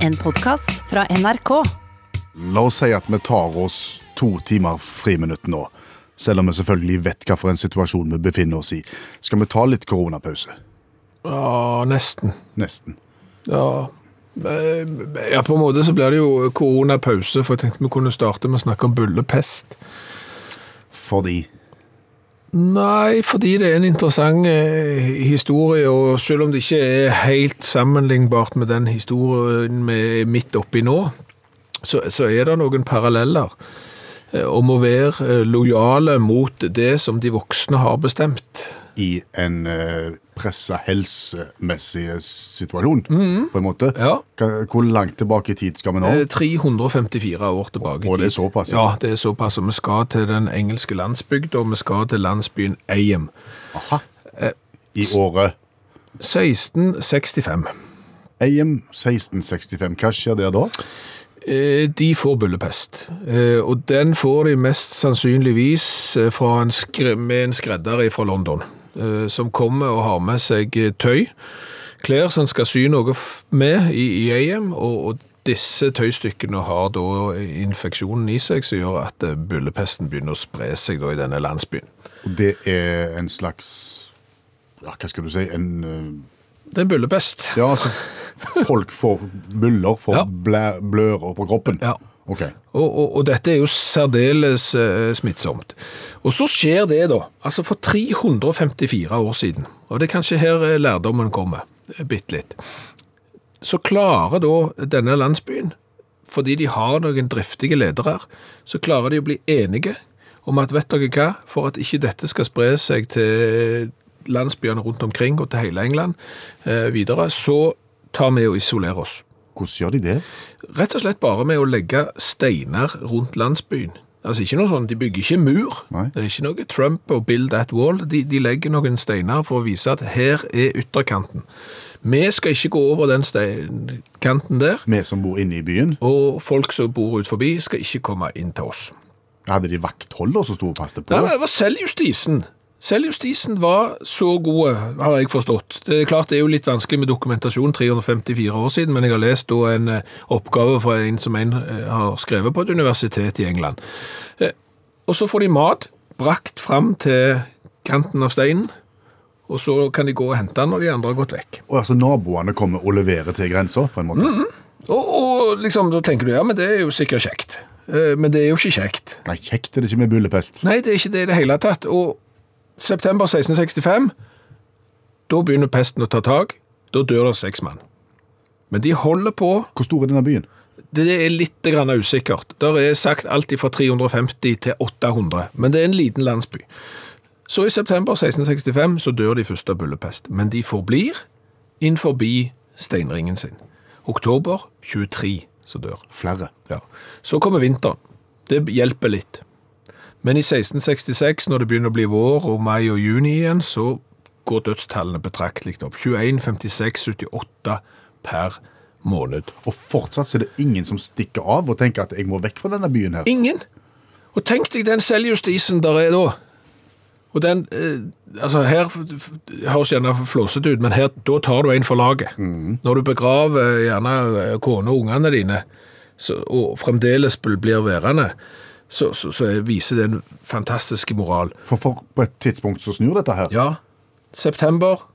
En podkast fra NRK. La oss si at vi tar oss to timer friminutt nå. Selv om vi selvfølgelig vet hva for en situasjon vi befinner oss i. Skal vi ta litt koronapause? Ja, nesten. Nesten. Ja. Eh, ja, på en måte så blir det jo koronapause, for jeg tenkte vi kunne starte med å snakke om bullepest. Fordi Nei, fordi det er en interessant eh, historie, og selv om det ikke er helt sammenlignbart med den historien vi er midt oppi nå, så, så er det noen paralleller eh, om å være eh, lojale mot det som de voksne har bestemt. i en eh, pressa helsemessig situasjon, på en måte. Ja. Hva- Hvor langt tilbake i tid skal vi nå? Eh, 354 år tilbake. i Og det er tid. såpass, ja. Ja, det er såpass. Og vi skal til den engelske landsbygda, og vi skal til landsbyen Eim. Aha. I året 1665. AM 1665. Hva skjer der da? Eh, De får bullepest, Eh, og den får de mest sannsynligvis eh, fra en skre med en skredder fra London, eh, som kommer og har med seg eh, tøy, klær som skal sy noe f- med i, i Eim, og, og disse tøystykkene har da infeksjonen i seg, som gjør at eh, bullepesten begynner å spre seg da i denne landsbyen. Og Det er en slags ja, Hva skal du si? En eh, Det er bullepest. Ja, altså Folk får buller, får Ja. blæ, blører på kroppen. Ja. Ok. Og, og, og dette er jo særdeles eh, smittsomt. Og så skjer det, da. Altså for 354 år siden, og det er kanskje her eh, lærdommen kommer, eh, bitte litt, så klarer da denne landsbyen, fordi de har noen driftige ledere her, så klarer de å bli enige om at vet dere hva, for at ikke dette skal spre seg til landsbyene rundt omkring og til hele England eh, videre, så tar vi og isolerer oss. Hvordan gjør de det? Rett og slett bare med å legge steiner rundt landsbyen. Altså ikke noe sånn, De bygger ikke mur. Nei. Det er ikke noe Trump og build that wall. De, de legger noen steiner for å vise at her er ytterkanten. Vi skal ikke gå over den stein- kanten der, Vi som bor inne i byen, og folk som bor ut forbi skal ikke komme inn til oss. hadde de vaktholder som sto og passet på? Nei, men det var selvjustisen. Selvjustisen var så god, har jeg forstått. Det er klart det er jo litt vanskelig med dokumentasjon 354 år siden, men jeg har lest da en eh, oppgave fra en som en eh, har skrevet på et universitet i England. Eh, Og så får de mat, brakt fram til kanten av steinen, og så kan de gå og hente den når de andre har gått vekk. Og altså Naboene kommer og leverer til grensa, på en måte? Mhm. Og, og liksom, da tenker du, ja, men det er jo sikkert kjekt. Eh, Men det er jo ikke kjekt. Nei, kjekt er det ikke med bullepest. Nei, det er ikke det i det hele tatt. Og september 1665, da begynner pesten å ta tak. Da dør det seks mann. Men de holder på. Hvor stor er denne byen? Det er litt grann usikkert. Der er sagt alt fra 350 til 800, men det er en liten landsby. Så i september 1665 så dør de første av bullepest, men de forblir innenfor steinringen sin. Oktober 23 så dør. Flere. Ja. Så kommer vinteren. Det hjelper litt. Men i 1666, når det begynner å bli vår og mai og juni igjen, så går dødstallene betraktelig opp. 21, 56, 78 per måned. Og fortsatt så er det ingen som stikker av og tenker at jeg må vekk fra denne byen her. Ingen! Og tenk deg den selvjustisen der er da. Og den, eh, altså her f- høres gjerne flåset ut, men her, da tar du en for laget. Når du begraver gjerne eh, kone og ungene dine, så, og fremdeles bl- blir værende, så, så, så viser det en fantastisk moral. For, for på et tidspunkt så snur dette her. Ja, september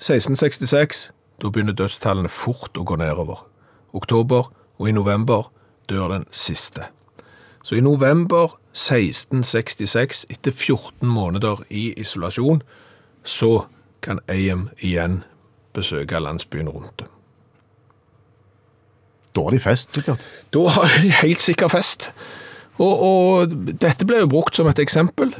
1666, da begynner dødstallene fort å gå nedover. Oktober og i november dør den siste. Så i november 1666, etter 14 måneder i isolasjon, så kan Eim igjen besøke landsbyen rundt det. Da er de fest, sikkert. Da har de helt sikker fest. Og, og dette ble jo brukt som et eksempel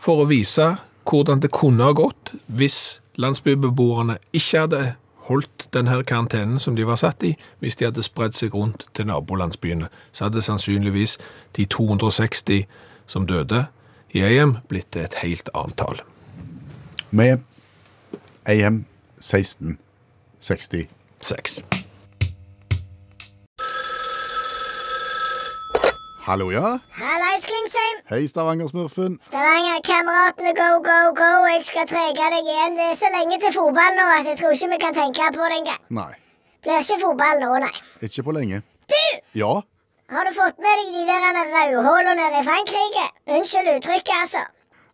for å vise hvordan det kunne ha gått hvis landsbybeboerne ikke hadde holdt denne karantenen som de var satt i, hvis de hadde spredt seg rundt til nabolandsbyene. Så hadde sannsynligvis de 260 som døde i Eim blitt til et helt annet tall. Med AM 1660. Seks. Hallo, ja? Hallais, Klingsheim! Hei, Stavanger-smurfen. Stavanger-kameratene go, go, go! Jeg skal trege deg igjen. Det er så lenge til fotball nå at jeg tror ikke vi kan tenke på det engang. Nei. Blir ikke fotball nå, nei. Ikke på lenge. Ja, Har du fått med deg de der rødhåla nede i Frankrike? Unnskyld uttrykket, altså.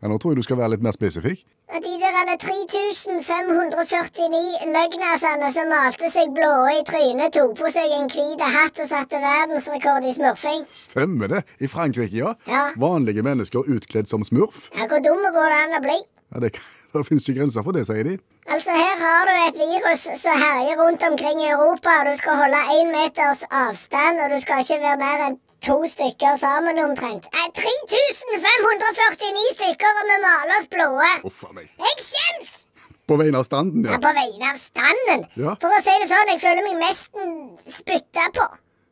men nå tror jeg du skal være litt mer spesifikk. Og de der 3549 løgnasene som malte seg blå i trynet, tok på seg en hvit hatt og satte verdensrekord i smurfing. Stemmer det? I Frankrike, ja. Ja. Vanlige mennesker utkledd som smurf. Ja, hvor dumme går det an å bli? Ja, det, det finnes ikke grenser for det, sier de. Altså, her har du et virus som herjer rundt omkring i Europa, og du skal holde én meters avstand, og du skal ikke være mer enn to stykker sammen omtrent. Nei, 3549 stykker, og vi maler oss blåe. Uff a meg. Jeg skjems! På vegne av standen, Ja, ja. på vegne av standen. Ja. For å si det sånn, jeg føler meg mest spytta på.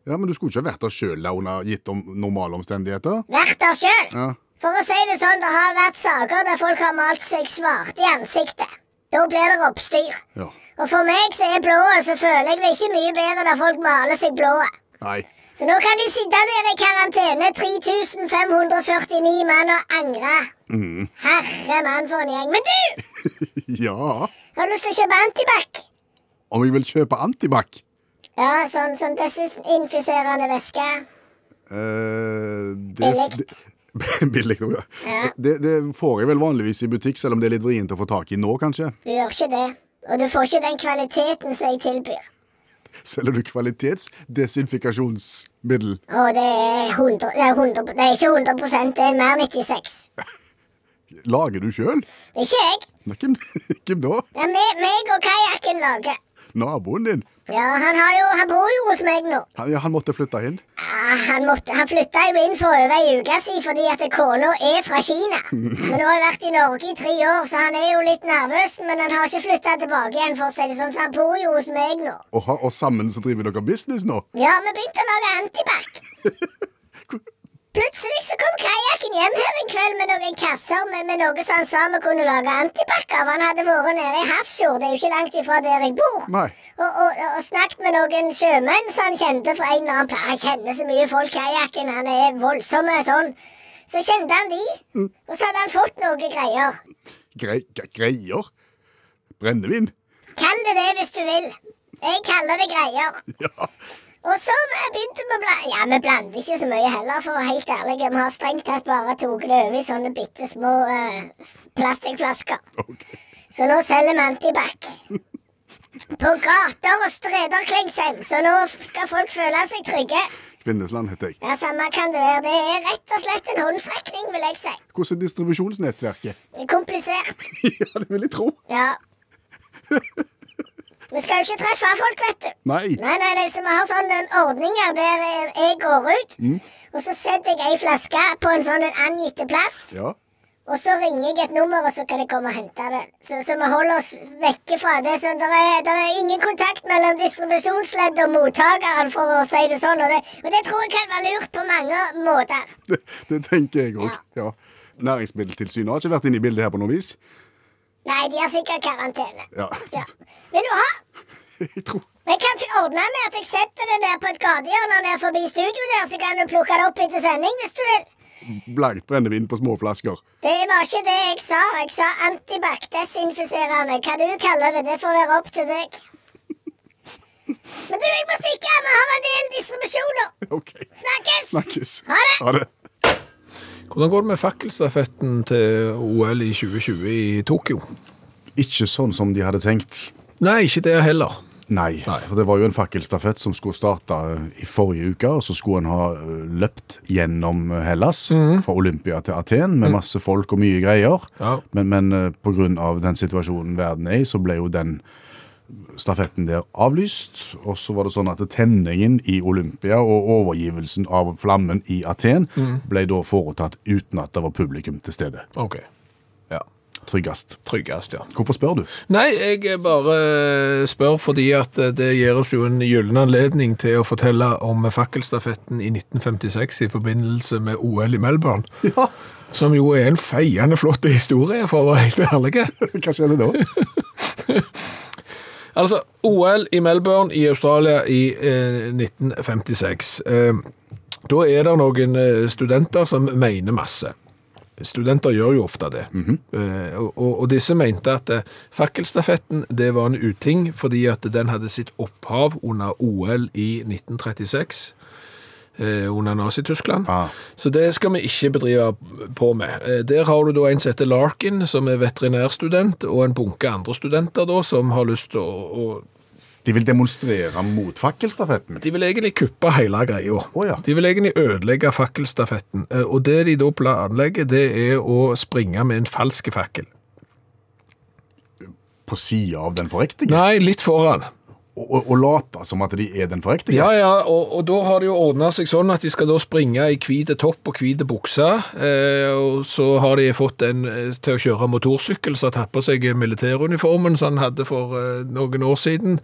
Ja, Men du skulle ikke vært der sjøl, Launa, gitt om normale omstendigheter? Vært der sjøl. Ja. For å si det sånn, det har vært saker der folk har malt seg svarte i ansiktet. Da blir det oppstyr. ja. Og for meg som er blå, så føler jeg det ikke mye bedre når folk maler seg blå. Nei. Så nå kan de sitte der i karantene, 3549 mann, og angre. Herre mann, for en gjeng. Men du! Ja. Har du lyst til å kjøpe antibac? Om jeg vil kjøpe antibac? Ja, sånn, sånn desinfiserende væske. Eh, Billig. det, det, billig, ja. Ja. Det, det får jeg vel vanligvis i butikk, selv om det er litt vrient å få tak i nå, kanskje. Du gjør ikke det. Og du får ikke den kvaliteten som jeg tilbyr. Selger du kvalitetsdesinfikasjonsmiddel? Og det er 100, det er 100 Det er ikke 100 det er mer 96. Lager du sjøl? Det er ikke jeg. Hvem, hvem da? Det er meg, meg og kajakken lager. Naboen din? Ja, han, har jo, han bor jo hos meg nå. Han, ja, han måtte flytte inn? Ja, Ah, han, måtte, han flytta jo inn for over ei uke siden fordi at kona er fra Kina. Men nå har jeg vært i Norge i tre år, så han er jo litt nervøs. Men han har ikke flytta tilbake igjen, for å si det sånn, så han bor jo hos meg nå. Og, ha- og sammen så driver dere business nå? Ja, vi begynte å lage antibac. Plutselig så kom kajakken hjem her en kveld med noen kasser med, med noe som han sa vi kunne lage antibac av. Han hadde vært nede i Hafrsfjord, det er jo ikke langt ifra der jeg bor. Nei. Og, og, og snakket med noen sjømenn som han kjente fra en eller annen plass. Han kjenner så mye folk, kajakken. Han er voldsom sånn. Så kjente han de, og så hadde han fått noe greier. Grei, gre- greier? Brennevin? Kall det det hvis du vil. Jeg kaller det greier. Ja. Og så begynte vi å blande Ja, vi blander ikke så mye heller, for å være helt ærlig. Vi har strengt tatt bare tatt det over i sånne bitte små eh, plastikkflasker. Ok. Så nå selger vi Antibac. På gater og streder, Klingsheim, så nå f- skal folk føle seg trygge. Kvinnesland heter jeg. Ja, Samme kan det være. Det er rett og slett en håndsrekning, vil jeg si. Hvordan er distribusjonsnettverket? Komplisert. ja, det vil jeg tro. Ja. Vi skal jo ikke treffe folk, vet du. Nei. Nei, nei, nei, så vi har sånn sånne ordninger der eh, jeg går ut, og så setter jeg ei flaske på en sånn en angitte plass, Ja. og så ringer jeg et nummer, og så kan jeg komme og hente det. Så, så vi holder oss vekke fra det. Så det er, der er ingen kontakt mellom distribusjonsledd og mottakeren, for å si det sånn, og det, og det tror jeg kan være lurt på mange måter. Det, det tenker jeg òg. Ja. Næringsmiddeltilsynet har ikke vært inne i bildet her på noe vis. Nei, de har sikkert karantene. Ja. Ja. Vil du ha? Jeg tror Men jeg kan fi- ordne med at jeg setter det der på et gatehjørne ned forbi studio der, så kan du plukke det opp etter sending hvis du vil. Blankt brennevin på små flasker. Det var ikke det jeg sa. Jeg sa antibac-desinfiserende. Hva du kaller det, det får være opp til deg. Men du, jeg må stikke. Vi har en del distribusjoner. OK. Snakkes! Snakkes. Ha det. Ha det. Hvordan går det med fakkelstafetten til OL i 2020 i Tokyo? Ikke sånn som de hadde tenkt. Nei, ikke det heller. Nei, Nei. for det var jo en fakkelstafett som skulle starte eh, i forrige uke, og så skulle en ha eh, løpt gjennom eh, Hellas, fra Olympia til Aten, med masse folk og mye greier. Ja. Men, men eh, på grunn av den situasjonen verden er i, så ble jo den stafetten der avlyst, og så var det sånn at tenningen i Olympia og overgivelsen av flammen i Aten ble da foretatt uten at det var publikum til stede. Ok. Ja. Tryggest. Tryggest, ja. Hvorfor spør du? Nei, jeg bare eh, spør fordi at eh, det gir oss jo en gyllen anledning til å fortelle om fakkelstafetten i 1956 i forbindelse med OL i Melbourne. Ja, Som jo er en feiende flott historie, for å være helt ærlig. hva skjedde da? Altså, OL i Melbourne i Australia i eh, 1956. Eh, da er det noen eh, studenter som mener masse. Studenter gjør jo ofte det. Eh, og- og, og disse mente at eh, fakkelstafetten det var en uting, fordi at den hadde sitt opphav under OL i 1936, eh, under Nazi-Tyskland. Ah. Så det skal vi ikke bedrive på med. Eh, Der har du da en som heter Larkin, som er veterinærstudent, og en bunke andre studenter da, som har lyst til å, å De vil demonstrere mot fakkelstafetten. de vil egentlig kuppe hele greia. Å ja. De vil egentlig ødelegge fakkelstafetten. Eh, Og det de da planlegger, det er å springe med en falsk fakkel. På sida av den forriktige. Nei, litt foran. Og, og, og late som at de er den forriktige. Ja, ja, og, og da har det jo ordna seg sånn at de skal da springe i hvit topp og hvit bukse. Eh, og så har de fått en eh, til å kjøre motorsykkel som har tatt på seg militæruniformen som han hadde for eh, noen år siden.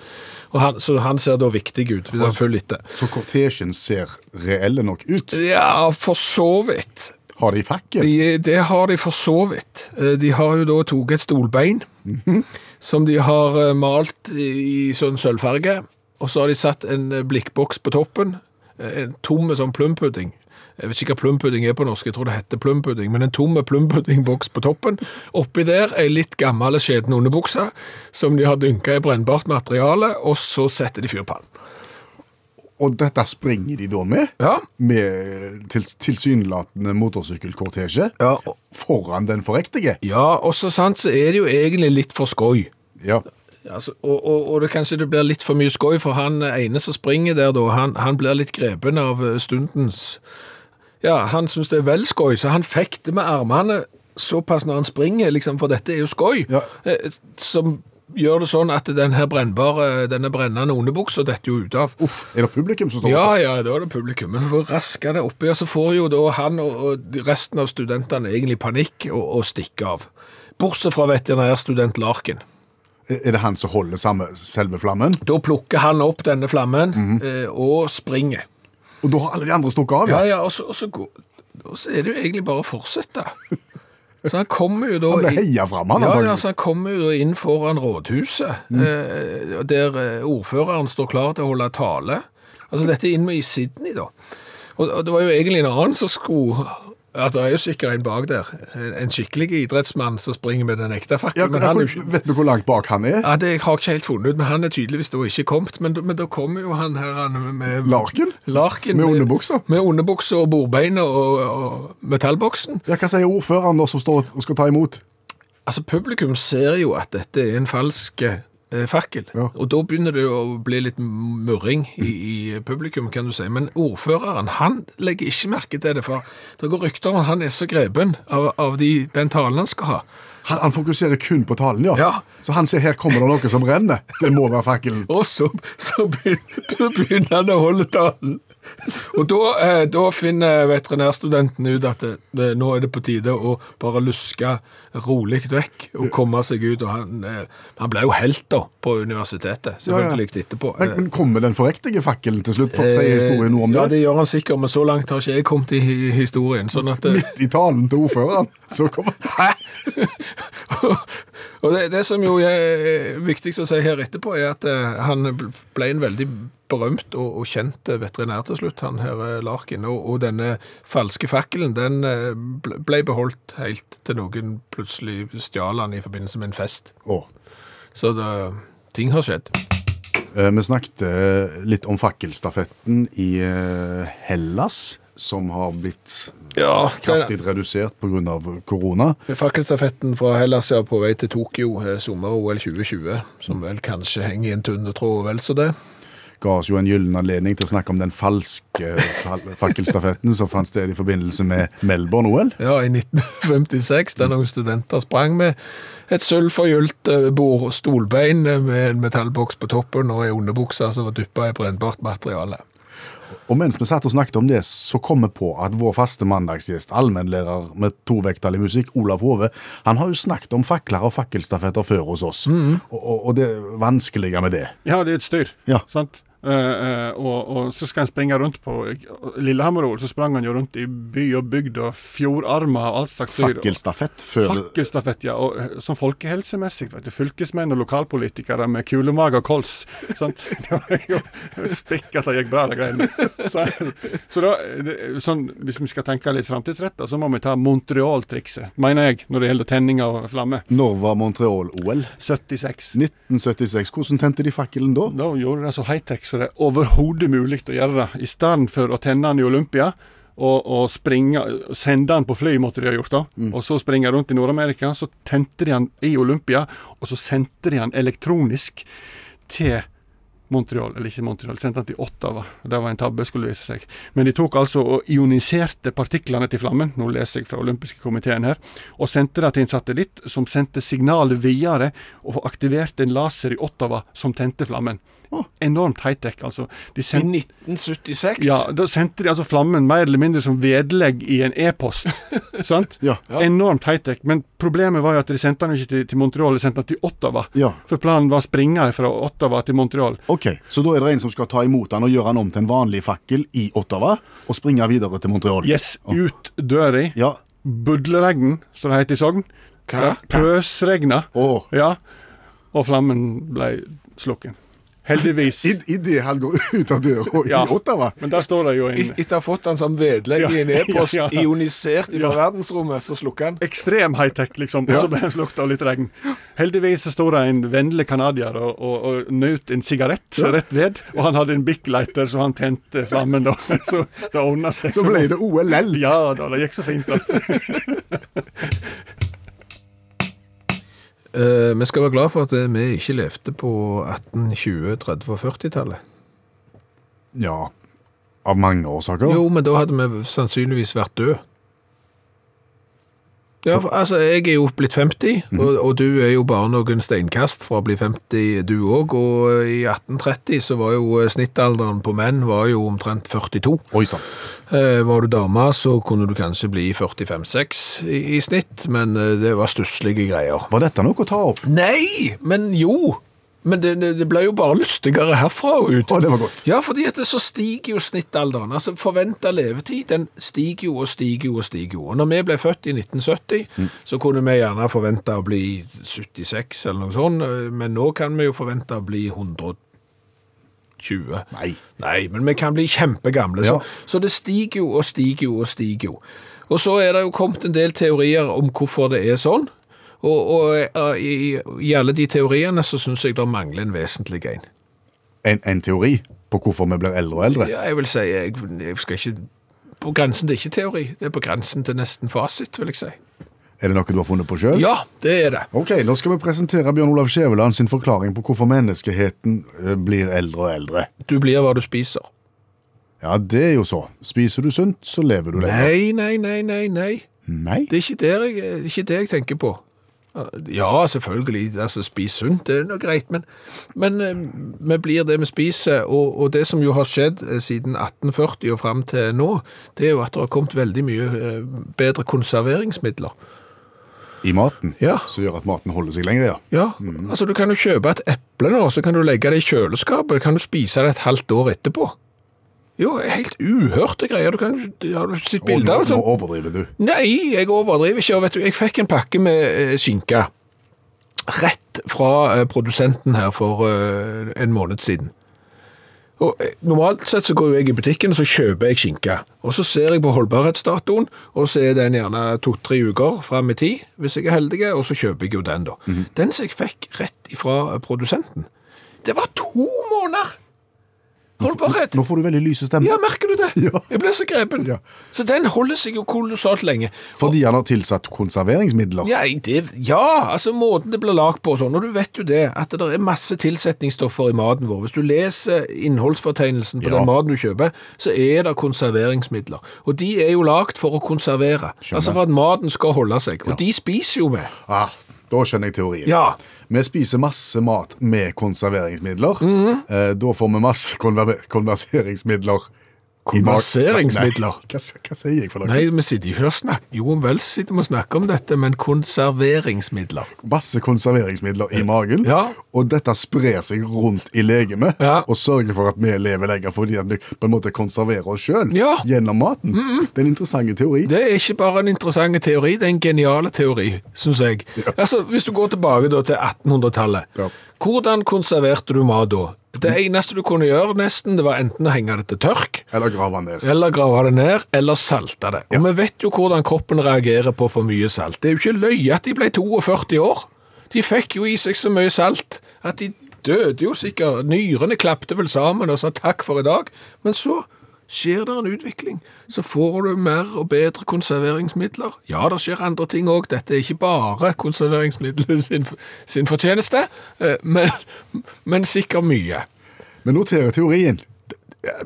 Og han, så han ser da viktig ut, hvis han følger etter. Så kortesjen ser reelle nok ut. Ja, for så vidt. Har de fakkel? De, det har de for så vidt. Eh, De har jo da tatt et stolbein, som de har eh, malt i sånn sølvfarge, og så har de satt en eh, blikkboks på toppen, eh, en tomme sånn plumpudding. Jeg vet ikke hva plumpudding er på norsk, jeg tror det heter plumpudding, men en tomme plumpuddingboks på toppen. Oppi der ei litt gammel skjeden underbukse, som de har dynka i brennbart materiale, og så setter de fyr på den. Og dette springer de da med? Ja. Med til, tilsynelatende motorsykkelkortesje Ja, og- foran den forriktige? Ja, og så sant så er det jo egentlig litt for skøy. Ja. Altså, og og, og det, kanskje det blir litt for mye skøy, for han ene som springer der, da, han, han blir litt grepen av eh, stundens Ja, han syns det er vel skøy, så han fekter med armene såpass når han springer, liksom, for dette er jo skøy. Ja. eh, Som gjør det sånn at den her brennbare, denne brennende underbuksa detter jo ut av. Uff, er det publikum som står Ja, og ser? ja, da er det publikum. Men for å raske det oppi, og så får jo da han og, og de- resten av studentene egentlig panikk og, og stikker av. Bortsett fra veterinærstudent Larken. Er- Er det han som holder samme selve flammen? Da plukker han opp denne flammen eh, og springer. Og da har alle de andre stukket av? Ja, Mhm. Ja. ja, og så, og, så går, og så er det jo egentlig bare å fortsette. Så han kommer jo da Han ble inn- heia fram, han, Mm. ja, altså. antagelig. ja, så han kommer jo da inn foran rådhuset, eh, der eh, ordføreren står klar til å holde tale. Altså, dette er inn med i Sydney, da. Og, og det var jo egentlig en annen som skulle ja, Det er jo sikkert en bak der. En, en skikkelig idrettsmann som springer med den ekte Ja, fakkelen. hvor- men han er jo ikke- hvor- vet du hvor langt bak han er? ja, det har jeg ikke helt funnet ut, men han er tydeligvis da ikke kommet. Men, men da kommer jo han her han med Larken? Larken Med underbuksa? Med underbuksa og bordbeina og, og metallboksen. Ja, Hva sier ordføreren da som står og skal ta imot? Altså, publikum ser jo at dette er en falsk eh, fakkel. Ja. Og da begynner det jo å bli litt murring i, i publikum, kan du si. Men ordføreren, han legger ikke merke til det, for det går rykter om at han er så grepen av, av de, den talen han skal ha. Han, han fokuserer kun på talen, ja. Ja. Så han ser her kommer det noe som renner. Det må være fakkelen. Og så, så, begynner, så begynner han å holde talen. Og da, eh, da finner veterinærstudenten ut at det, det, nå er det på tide å bare luske rolig vekk og komme seg ut. Og han, eh, han ble jo helt da på universitetet, selvfølgelig etterpå. Eh, Men, men kommer den forriktige fakkelen til slutt? For å si historien noe om Ja, Eh, det? det gjør han sikkert, men så langt har ikke jeg kommet i hi- historien. Sånn at, eh, Midt i talen til ordføreren, så kommer Hæ?! og det, det som jo er viktigst å si her etterpå, er at eh, han ble en veldig berømt og, og kjent veterinær til slutt, han her eh, Larkin. Og, og denne falske fakkelen, den eh, ble- ble beholdt helt til noen plutselig stjal han i forbindelse med en fest. Å. Så det, ting har skjedd. Eh, Vi snakket eh, litt om fakkelstafetten i eh, Hellas, som har blitt Ja, kraftig redusert pga. korona. Fakkelstafetten fra Hellas er på vei til Tokyo, eh, sommer-OL 2020, som vel kanskje henger i en tynne tråd og vel så det. Ga oss jo en gyllen anledning til å snakke om den falske fal- fakkelstafetten som fant sted i forbindelse med Melbourne-OL. Ja, i 1956, der noen studenter sprang med et sølvforgylt eh, bord- stolbein eh, med en metallboks på toppen og ei underbukse som var dyppa i brennbart materiale. Og mens vi satt og snakket om det, så kom vi på at vår faste mandagsgjest, allmennlærer med tovektig musikk, Olav Hove, han har jo snakket om fakler og Mm. fakkelstafetter før hos oss. Og, og, og det vanskelige med det. Ja, det er et styr. Ja. Sant? Eh, eh, og, og så skal en springe rundt på Lillehammer-OL, så sprang han jo rundt i by og bygd og fjordarmer og alt slags dyr. Fakkelstafett før Fakkelstafett, ja. Og eh, sånn folkehelsemessig, vet du. Fylkesmenn og lokalpolitikere med kulemage og kols. Sant? Det var jo spikk at det gikk bra, de greiene. Så, så da, det- sånn, hvis vi skal tenke litt framtidsretta, så må vi ta Montreal-trikset, mener jeg, når det gjelder tenning av flamme. Når var Montreal-OL? 76. 1976. Hvordan tente de fakkelen da? Da gjorde de så high-tech så det er overhodet mulig å gjøre det. I stedet for å tenne den i Olympia og, og springe, sende den på fly, måtte de ha gjort da. Og så springe rundt i Nord-Amerika. Så tente de den i Olympia, og så sendte de den elektronisk til Montreal, eller ikke Montreal, sendte den til Ottawa. Det var en tabbe, skulle vise seg. Men de tok altså og ioniserte partiklene til flammen, nå leser jeg fra olympiske komiteen her, og sendte det til en satellitt som sendte signalet videre og aktiverte en laser i Ottawa som tente flammen. Enormt high-tech, altså. De I sendte 1976? ja, da sendte de altså flammen mer eller mindre som vedlegg i en e-post. sant? Ja. Enormt high-tech. Men problemet var jo at de sendte den ikke til, til Montreal, de sendte den til Ottawa. Ja. For planen var å springe fra Ottawa til Montreal. Ok, Så da er det en som skal ta imot den og gjøre den om til en vanlig fakkel i Ottawa, og springe videre til Montreal? Yes, ut døra. Ja. Budleregn, som det heter i Sogn. Hva? Pøsregna. Åh. Ja. Og flammen ble slukken. Heldigvis. I, i det han går ut av døra i Ja. Ottawa? Men der står det jo en Et- Etter å ha fått den som vedlegg i en Ja, e-post, ja, ja. ionisert fra Ja. verdensrommet, så slukker han. ekstrem high-tech, liksom. Og så ble han slukt av litt regn. Heldigvis så sto det en vennlig canadier og, og, og nøt en sigarett rett ved. Og han hadde en Bic Lighter, så han tente flammen, da. Så det ordna seg. Så ble det OLL. Ja da, det gikk så fint. Da. Eh, vi skal være glad for at eh, vi ikke levde på 1820-, 30- og 40-tallet. Ja. Av mange årsaker. Jo, men da hadde vi sannsynligvis vært død. Ja, for, altså, jeg er jo blitt 50, og, og du er jo bare noen steinkast fra å bli 50 du òg. Og eh, i 1830 så var jo eh, snittalderen på menn var jo omtrent 42. Oi sann. Eh, Var du dame, så kunne du kanskje bli 45-6 i, i snitt, men eh, det var stusslige greier. Var dette noe å ta opp? Nei, men jo. Men det, det, det ble jo bare lystigere herfra og ut. Å, det var godt. Ja, fordi at det, så stiger jo snittalderen. Altså, Forventa levetid den stiger jo og stiger jo og stiger. jo. Og når vi ble født i 1970, Mm. så kunne vi gjerne forvente å bli 76 eller noe sånt, eh, men nå kan vi jo forvente å bli 120. Nei. Nei, men vi kan bli kjempegamle. Ja. Så, så det stiger jo og stiger jo og stiger jo. Og så er det jo kommet en del teorier om hvorfor det er sånn. Og, og eh, i, i alle de teoriene så syns jeg det mangler en vesentlig en. En, en teori på hvorfor vi blir eldre og eldre? Ja, jeg vil si jeg, jeg skal ikke På grensen til ikke teori. Det er på grensen til nesten fasit, vil jeg si. Er det noe du har funnet på sjøl? Ja, det er det. Ok, nå skal vi presentere Bjørn Olav Skjæveland sin forklaring på hvorfor menneskeheten eh, blir eldre og eldre. Du blir hva du spiser. Ja, det er jo så. Spiser du sunt, så lever du lenger. Nei, nei, nei, nei. nei. Nei. Det er ikke, der jeg, det er ikke det jeg tenker på. Ja, selvfølgelig. Altså, spis sunt, det er noe greit, men, men eh, vi blir det vi spiser. Og, og det som jo har skjedd eh, siden 1840 og fram til nå, det er jo at det har kommet veldig mye eh, bedre konserveringsmidler. I maten, Ja. som gjør at maten holder seg lenger, ja. Ja, Mm. altså du kan jo kjøpe et eple nå, så kan du legge det i kjøleskapet, kan du spise det et halvt år etterpå. Jo, helt uhørte greier. Du kan, har du sett Og nå, bilder av nå sånn? overdriver du. Nei, jeg overdriver ikke, og vet du, jeg fikk en pakke med eh, skinke. Rett fra eh, produsenten her for eh, en måned siden. Og eh, normalt sett så går jo jeg i butikken, og så kjøper jeg skinke. Og så ser jeg på holdbarhetsdatoen, og så er den gjerne to-tre uker frem i tid, hvis jeg er heldig, og så kjøper jeg jo den da. Mhm. Den som jeg fikk rett fra produsenten, det var to måneder holdbarhet. Nå får du veldig lyse stemmer. Ja, merker du det? Ja. Jeg ble så grepen. Ja. Så den holder seg jo kolossalt lenge. Fordi han har tilsatt konserveringsmidler. Ja, det, ja, altså måten det blir lagt på og sånn, og du vet jo det, at det er masse tilsetningsstoffer i maten vår. Hvis du leser innholdsfortegnelsen på Ja. den maten du kjøper, så er det konserveringsmidler. Og de er jo lagt for å konservere, Skjønner. altså for at maten skal holde seg. Og de spiser jo med. Ah, da skjønner jeg teorien. Ja. Vi spiser masse mat Mhm. med konserveringsmidler. eh, da får vi masse konver- konverseringsmidler Konverseringsmidler. Nei, Hva, hva sier jeg for noe? Nei, vi sitter ikke og snakker. Jo vel sitter vi og snakker om dette, men konserveringsmidler. masse konserveringsmidler i magen, Ja. og dette sprer seg rundt i legemet Ja. og sørger for at vi lever lenger fordi at vi på en måte konserverer oss sjøl Ja. Mhm. gjennom maten. Det er en interessant teori. Det er ikke bare en interessant teori, det er en genial teori, syns jeg. Altså, Hvis du går tilbake da til 1800-tallet, Ja. hvordan konserverte du mat da? Det eneste du kunne gjøre, nesten, det var enten å henge det til tørk, Eller grave den ned. eller grave det ned, eller salte det. Og vi vet jo hvordan kroppen reagerer på for mye salt. Det er jo ikke løye at de ble 42 år. De fikk jo i seg så mye salt at de døde jo sikkert. Nyrene klapte vel sammen og sa takk for i dag. Men så skjer det en utvikling. Så får du mer og bedre konserveringsmidler. Ja, det skjer andre ting òg. Dette er ikke bare konserveringsmiddelet sin, sin fortjeneste, eh, men, men sikkert mye. Vi noterer teorien.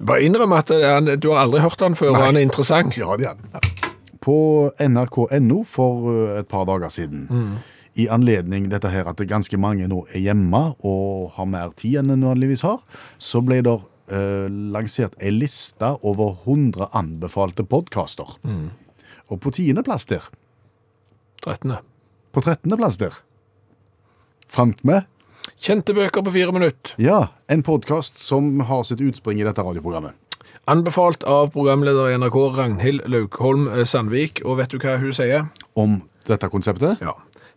Bare innrøm at det er en- du har aldri hørt han før, og han er interessant. Ja, det er den. På nrk.no for uh, et par dager siden, i anledning dette her at det ganske mange nå er hjemme og har mer tid enn de vanligvis har, så ble det eh, lansert ei liste over 100 anbefalte podkaster. Og på tiendeplass der, 13. på trettendeplass der, fant vi Kjente bøker på fire minutter. ja, en podkast som har sitt utspring i dette radioprogrammet. Anbefalt av programleder i NRK, Ragnhild Laukholm eh, Sandvik. Og vet du hva hun sier? Om dette konseptet. Ja.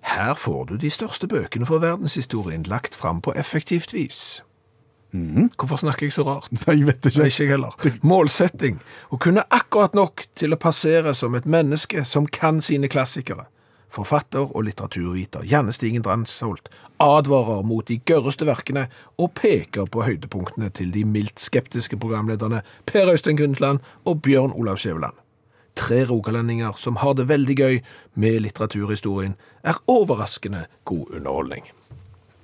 Her får du de største bøkene fra verdenshistorien lagt fram på effektivt vis. Hvorfor snakker jeg så rart? Nei, jeg vet Nei, ikke. ikke jeg heller. Målsetting. Å kunne akkurat nok til å passere som et menneske som kan sine klassikere. Forfatter og litteraturviter Janne Stigen Dransholt advarer mot de gørreste verkene og peker på høydepunktene til de mildt skeptiske programlederne Per Øystein Grundtland og Bjørn Olav Skjæveland. Tre rogalendinger som har det veldig gøy med litteraturhistorien, er overraskende god underholdning.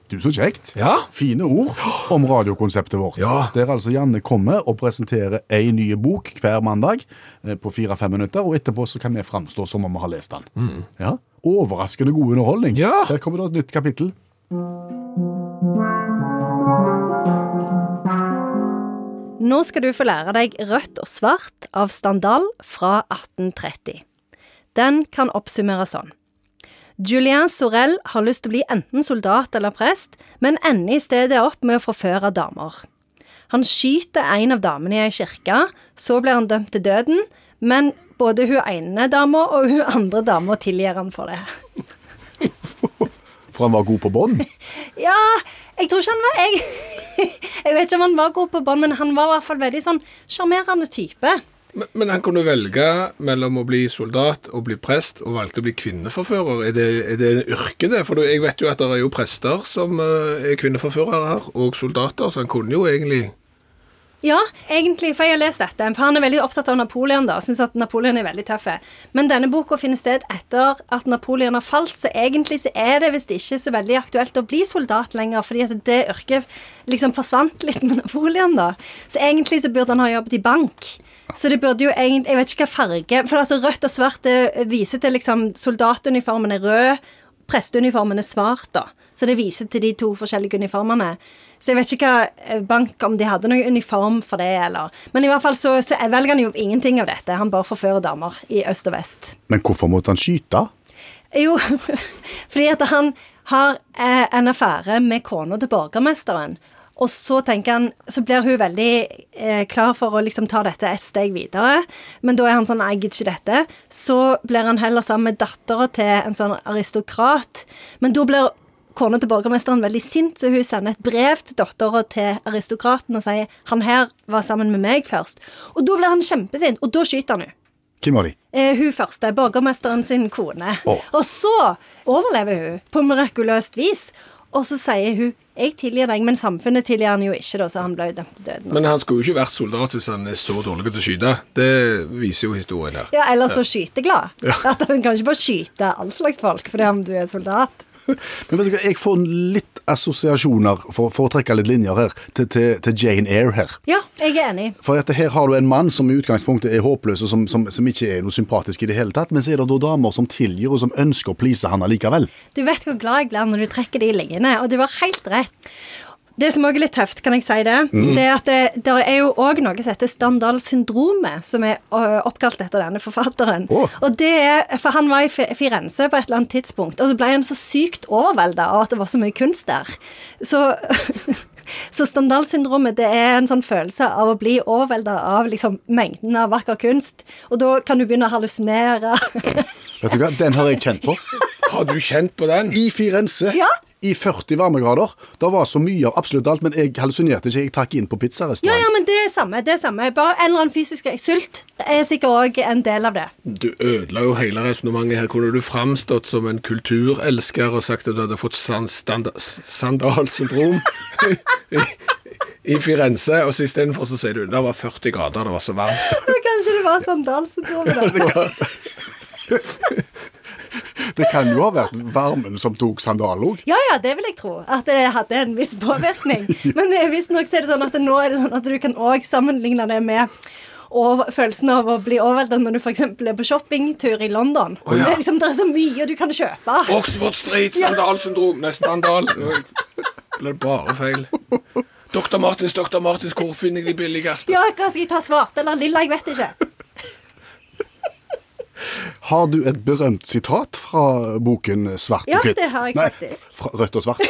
Du, så kjekt. Ja, Fine ord om radiokonseptet vårt. Ja. Der altså Janne kommer og presenterer ei ny bok hver mandag eh, på fire-fem minutter, og etterpå så kan vi framstå som om vi har lest den. Ja. Overraskende god underholdning. Ja. Der kommer det et nytt kapittel. Nå skal du få lære deg Rødt og svart av Standal fra 1830. Den kan oppsummeres sånn. Julien Sorel har lyst til å bli enten soldat eller prest, men ender i stedet opp med å forføre damer. Han skyter en av damene i ei kirke, så blir han dømt til døden, men både hun ene dama og hun andre dama tilgir han for det. For han var god på bånd. Ja, jeg tror ikke han var Jeg, jeg vet ikke om han var god på bånd, men han var i hvert fall veldig sånn sjarmerende type. Men, men han kunne velge mellom å bli soldat og bli prest, og valgte å bli kvinneforfører. Er det, er det en yrke, det? For jeg vet jo at det er jo prester som eh, er kvinneforførere her, og soldater, så han kunne jo egentlig Ja, egentlig, for jeg har lest dette. For han er veldig opptatt av Napoleon da, og syns at Napoleon er veldig tøff. Men denne boka finner sted etter at Napoleon har falt, så egentlig så er det visst ikke så veldig aktuelt å bli soldat lenger, fordi at det yrket liksom forsvant litt med Napoleon, da. Så egentlig så burde han ha jobbet i bank. Så det burde jo egentlig Jeg vet ikke hva farge For altså rødt og svart det viser til liksom Soldatuniformen er rød, presteuniformen er svart, da. Så det viser til de to forskjellige uniformene. Så jeg vet ikke hva eh, bank om de hadde noen uniform for det, eller Men i hvert fall så, så jeg velger han jo ingenting av dette. Han bare forfører damer i øst og vest. Men hvorfor måtte han skyte? Jo, fordi at han har eh, en affære med kona til borgermesteren. Og så tenker han, så blir hun veldig eh, klar for å liksom ta dette et steg videre. Men da er han sånn, nei, jeg gidder ikke dette. Så blir han heller sammen med dattera til en sånn aristokrat. Men da blir kona til borgermesteren veldig sint, så hun sender et brev til dattera til aristokraten og sier han her var sammen med meg først. Og da blir han kjempesint, og da skyter han henne. Hvem var de? Eh, hun første, borgermesteren sin kone. Å. Og så overlever hun på mirakuløst vis. Og så sier hun 'jeg tilgir deg', men samfunnet tilgir han jo ikke, da, så han ble jo dømt til døden. Men også. han skulle jo ikke vært soldat hvis han er så dårlig til å skyte. Det viser jo historien her. Ja, Eller så skyteglad. At han kan ikke bare skyte all slags folk fordi om du er soldat. Men vet du hva, Jeg får litt assosiasjoner, for, for å trekke litt linjer her, til, til, til Jane Eyre her. Ja, jeg er enig. For at her har du en mann som i utgangspunktet er håpløs, og som, som, som ikke er noe sympatisk i det hele tatt, men så er det da damer som tilgir, og som ønsker å please han allikevel. Du vet hvor glad jeg blir når du trekker de linjene, og du har helt rett. Det som også er litt tøft, kan jeg si det, det er at det, der er jo òg noe som heter Standal-syndromet, som er ø, oppkalt etter denne forfatteren. Å. Og det er, For han var i Fi- Firenze på et eller annet tidspunkt, og så ble han så sykt overvelda av at det var så mye kunst der. Så, så Standal-syndromet det er en sånn følelse av å bli overvelda av liksom, mengden av vakker kunst, og da kan du begynne å hallusinere. Vet du hva, den har jeg kjent på. Har du kjent på den? I Firenze, Ja. i 40 varmegrader. Det var så mye av absolutt alt, men jeg hallusinerte ikke. Jeg trakk inn på Ja, ja, pizzarestaurant. men det er samme. det er samme. Bare en eller annen fysisk sult er sikkert òg en del av det. Du ødela jo hele resonnementet her. Kunne du framstått som en kulturelsker og sagt at du hadde fått san- standa- sandalsyndrom i, i Firenze, og så istedenfor så sier du det var 40 grader, det var så varmt. Kanskje det var sandalsyndromet, da. Det kan jo ha vært varmen som tok sandalen òg. Ja, ja, det vil jeg tro. At det hadde en viss påvirkning. Men eh, visstnok så er det sånn at nå er det sånn at du kan òg sammenligne det med over, følelsen av å bli overveldet når du f.eks. er på shoppingtur i London. Det, er liksom, det er så mye du kan kjøpe. Oxford Street, sandalsyndrom, neste sandal. Ble det bare feil. Dr. Martins, Dr. Martins, hvor finner jeg de billigste? Ja, hva skal jeg ta svart eller lilla? Jeg vet ikke. Har du et berømt sitat fra boken Svart Ja, og hvitt? det har jeg Nei, faktisk. Fra Rødt og svart.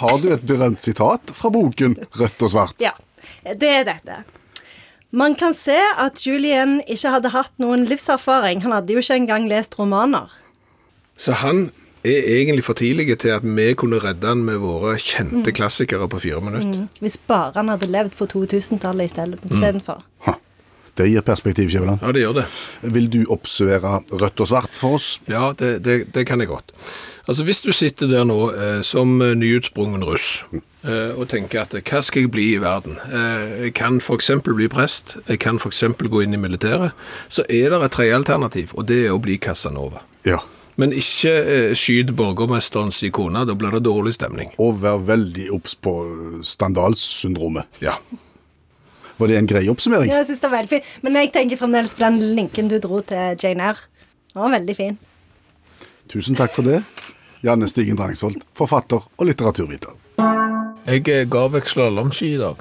Har du et berømt sitat fra boken Rødt og svart? Ja, det er dette. Man kan se at Julian ikke hadde hatt noen livserfaring. Han hadde jo ikke engang lest romaner. Så han er egentlig for tidlig til at vi kunne redde han med våre kjente klassikere på fire minutter. Hvis bare han hadde levd på 2000-tallet i stedet- istedenfor. Ha, Det gir perspektiv, Skjæveland. Ja, det gjør det. Vil du oppsummere Rødt og svart for oss? Ja, det, det, det kan jeg godt. Altså, Hvis du sitter der nå eh, som eh, nyutsprungen russ eh, og tenker at eh, hva skal jeg bli i verden? Eh, jeg kan f.eks. bli prest, jeg kan f.eks. gå inn i militæret. Så er det et tredje alternativ, og det er å bli Casanova. Ja. Men ikke eh, skyt borgermesterens kone, da blir det dårlig stemning. Og vær veldig obs på Standalsyndromet. Ja. Var det en grei oppsummering? Ja, jeg synes det var veldig fint. Men jeg tenker fremdeles på den linken du dro til Jane Eyre. Den var veldig fin. Tusen takk for det. Janne Stigen Drangsholt, forfatter og litteraturviter. Jeg eh, ga vekk slalåmski i dag.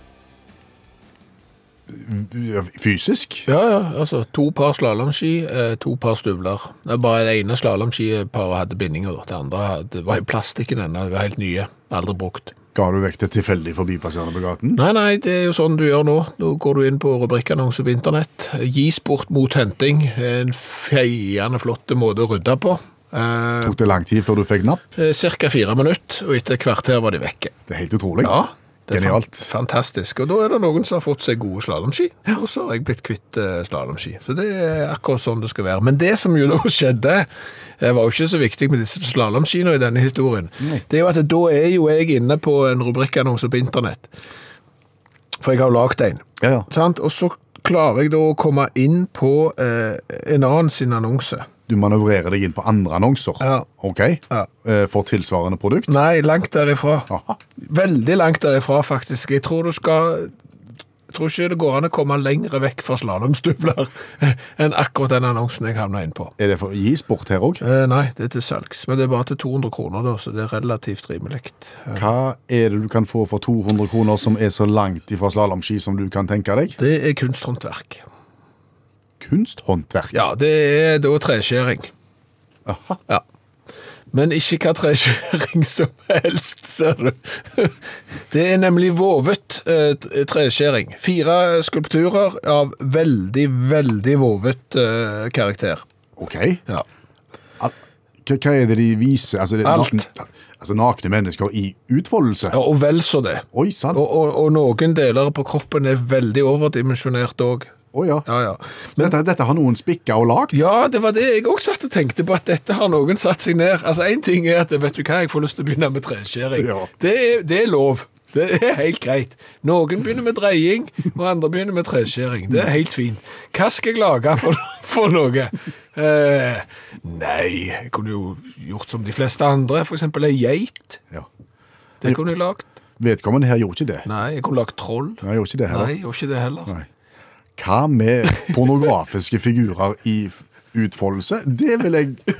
Fysisk? Ja, ja, altså to par slalåmski, eh, to par støvler. Det er bare det ene slalåmskiparet hadde bindinger, da. det andre hadde, var i plastikken ennå, det var helt nye, aldri brukt. Ga du vekk til tilfeldig forbipasserende på gaten? Nei, nei, det er jo sånn du gjør nå. Nå går du inn på rubrikkannonser på internett. Gis bort mot henting, en feiende flott måte å rydde på. Eh, Tok det lang tid før du fikk napp? eh, cirka fire minutter, og etter et kvarter var de vekke. Det er helt utrolig. Ja, det er Genialt. fan- fantastisk. Og da er det noen som har fått seg gode slalåmski, og så har jeg blitt kvitt eh, slalåmski. Så det er akkurat sånn det skal være. Men det som jo da skjedde, eh, var jo ikke så viktig med disse slalåmskiene i denne historien. Det er jo at da er jo jeg inne på en rubrikkannonse på internett. For jeg har jo lagd en. Ja, ja. Sant? Og så klarer jeg da å komme inn på eh, en annen sin annonse. Du manøvrerer deg inn på andre annonser. Ja. Ok? Ja. Eh, For tilsvarende produkt? Nei, langt derifra. Aha. Veldig langt derifra, faktisk. Jeg tror du skal jeg tror ikke det går an å komme lenger vekk fra slalåmstøvler enn akkurat den annonsen jeg havna inn på. Er det for gis bort her òg? Eh, nei, det er til salgs, men det er bare til 200 kroner, da, så det er relativt rimelig. Hva er det du kan få for 200 kroner som er så langt ifra slalåmski som du kan tenke deg? Det er kunsthåndverk. Kunsthåndverk. Ja, det er da treskjæring. Aha. Ja. Men ikke hva treskjæring som helst, ser du. Det er nemlig vovet eh, treskjæring. Fire skulpturer av veldig, veldig vovet eh, karakter. Ok. Ja. Al- Hva hva er det de viser? Altså, det er Alt. nakne- Altså nakne mennesker i utfoldelse? Ja, og vel så det. Oi sann. Og, Å og, og noen deler på kroppen er veldig overdimensjonert òg. ja. Ja, ja. Så dette, dette har noen spikka og lagd? Ja, det var det jeg òg satt og tenkte på, at dette har noen satt seg ned. Altså, Én ting er at vet du hva, jeg får lyst til å begynne med treskjæring. Ja. Det, er, det er lov. Det er helt greit. Noen begynner med dreying, og andre begynner med treskjæring. Det er helt fint. Hva skal jeg lage for, for noe? Eh, nei, jeg kunne jo gjort som de fleste andre. For eksempel ei geit. Ja. Det kunne jeg lagd. Vedkommende her gjorde ikke det. Nei, jeg kunne lagd troll. Nei, gjorde ikke det heller. Nei, jeg gjorde ikke det heller. Nei. Hva med pornografiske figurer i utfoldelse? Det Mhm. vil jeg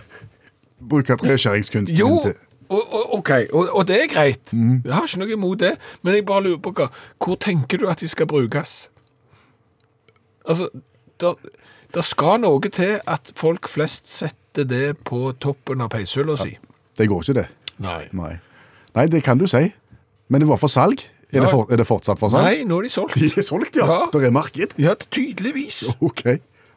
bruke treskjæringskunsten Jo, til. Og, og, ok, og, og det er greit. Jeg har ikke noe imot det. Men jeg bare lurer på hva Hvor tenker du at de skal brukes? Altså, der, der skal noe til at folk flest setter det på toppen av peishylla si. Det går ikke, det. Nei. Nei. Nei, det kan du si. Men det var for salg. Er, det, Ja. for, er det fortsatt for salg? Nei, nå er de solgt. De er solgt, ja. Ja. Det er marked. Ja, tydeligvis. OK.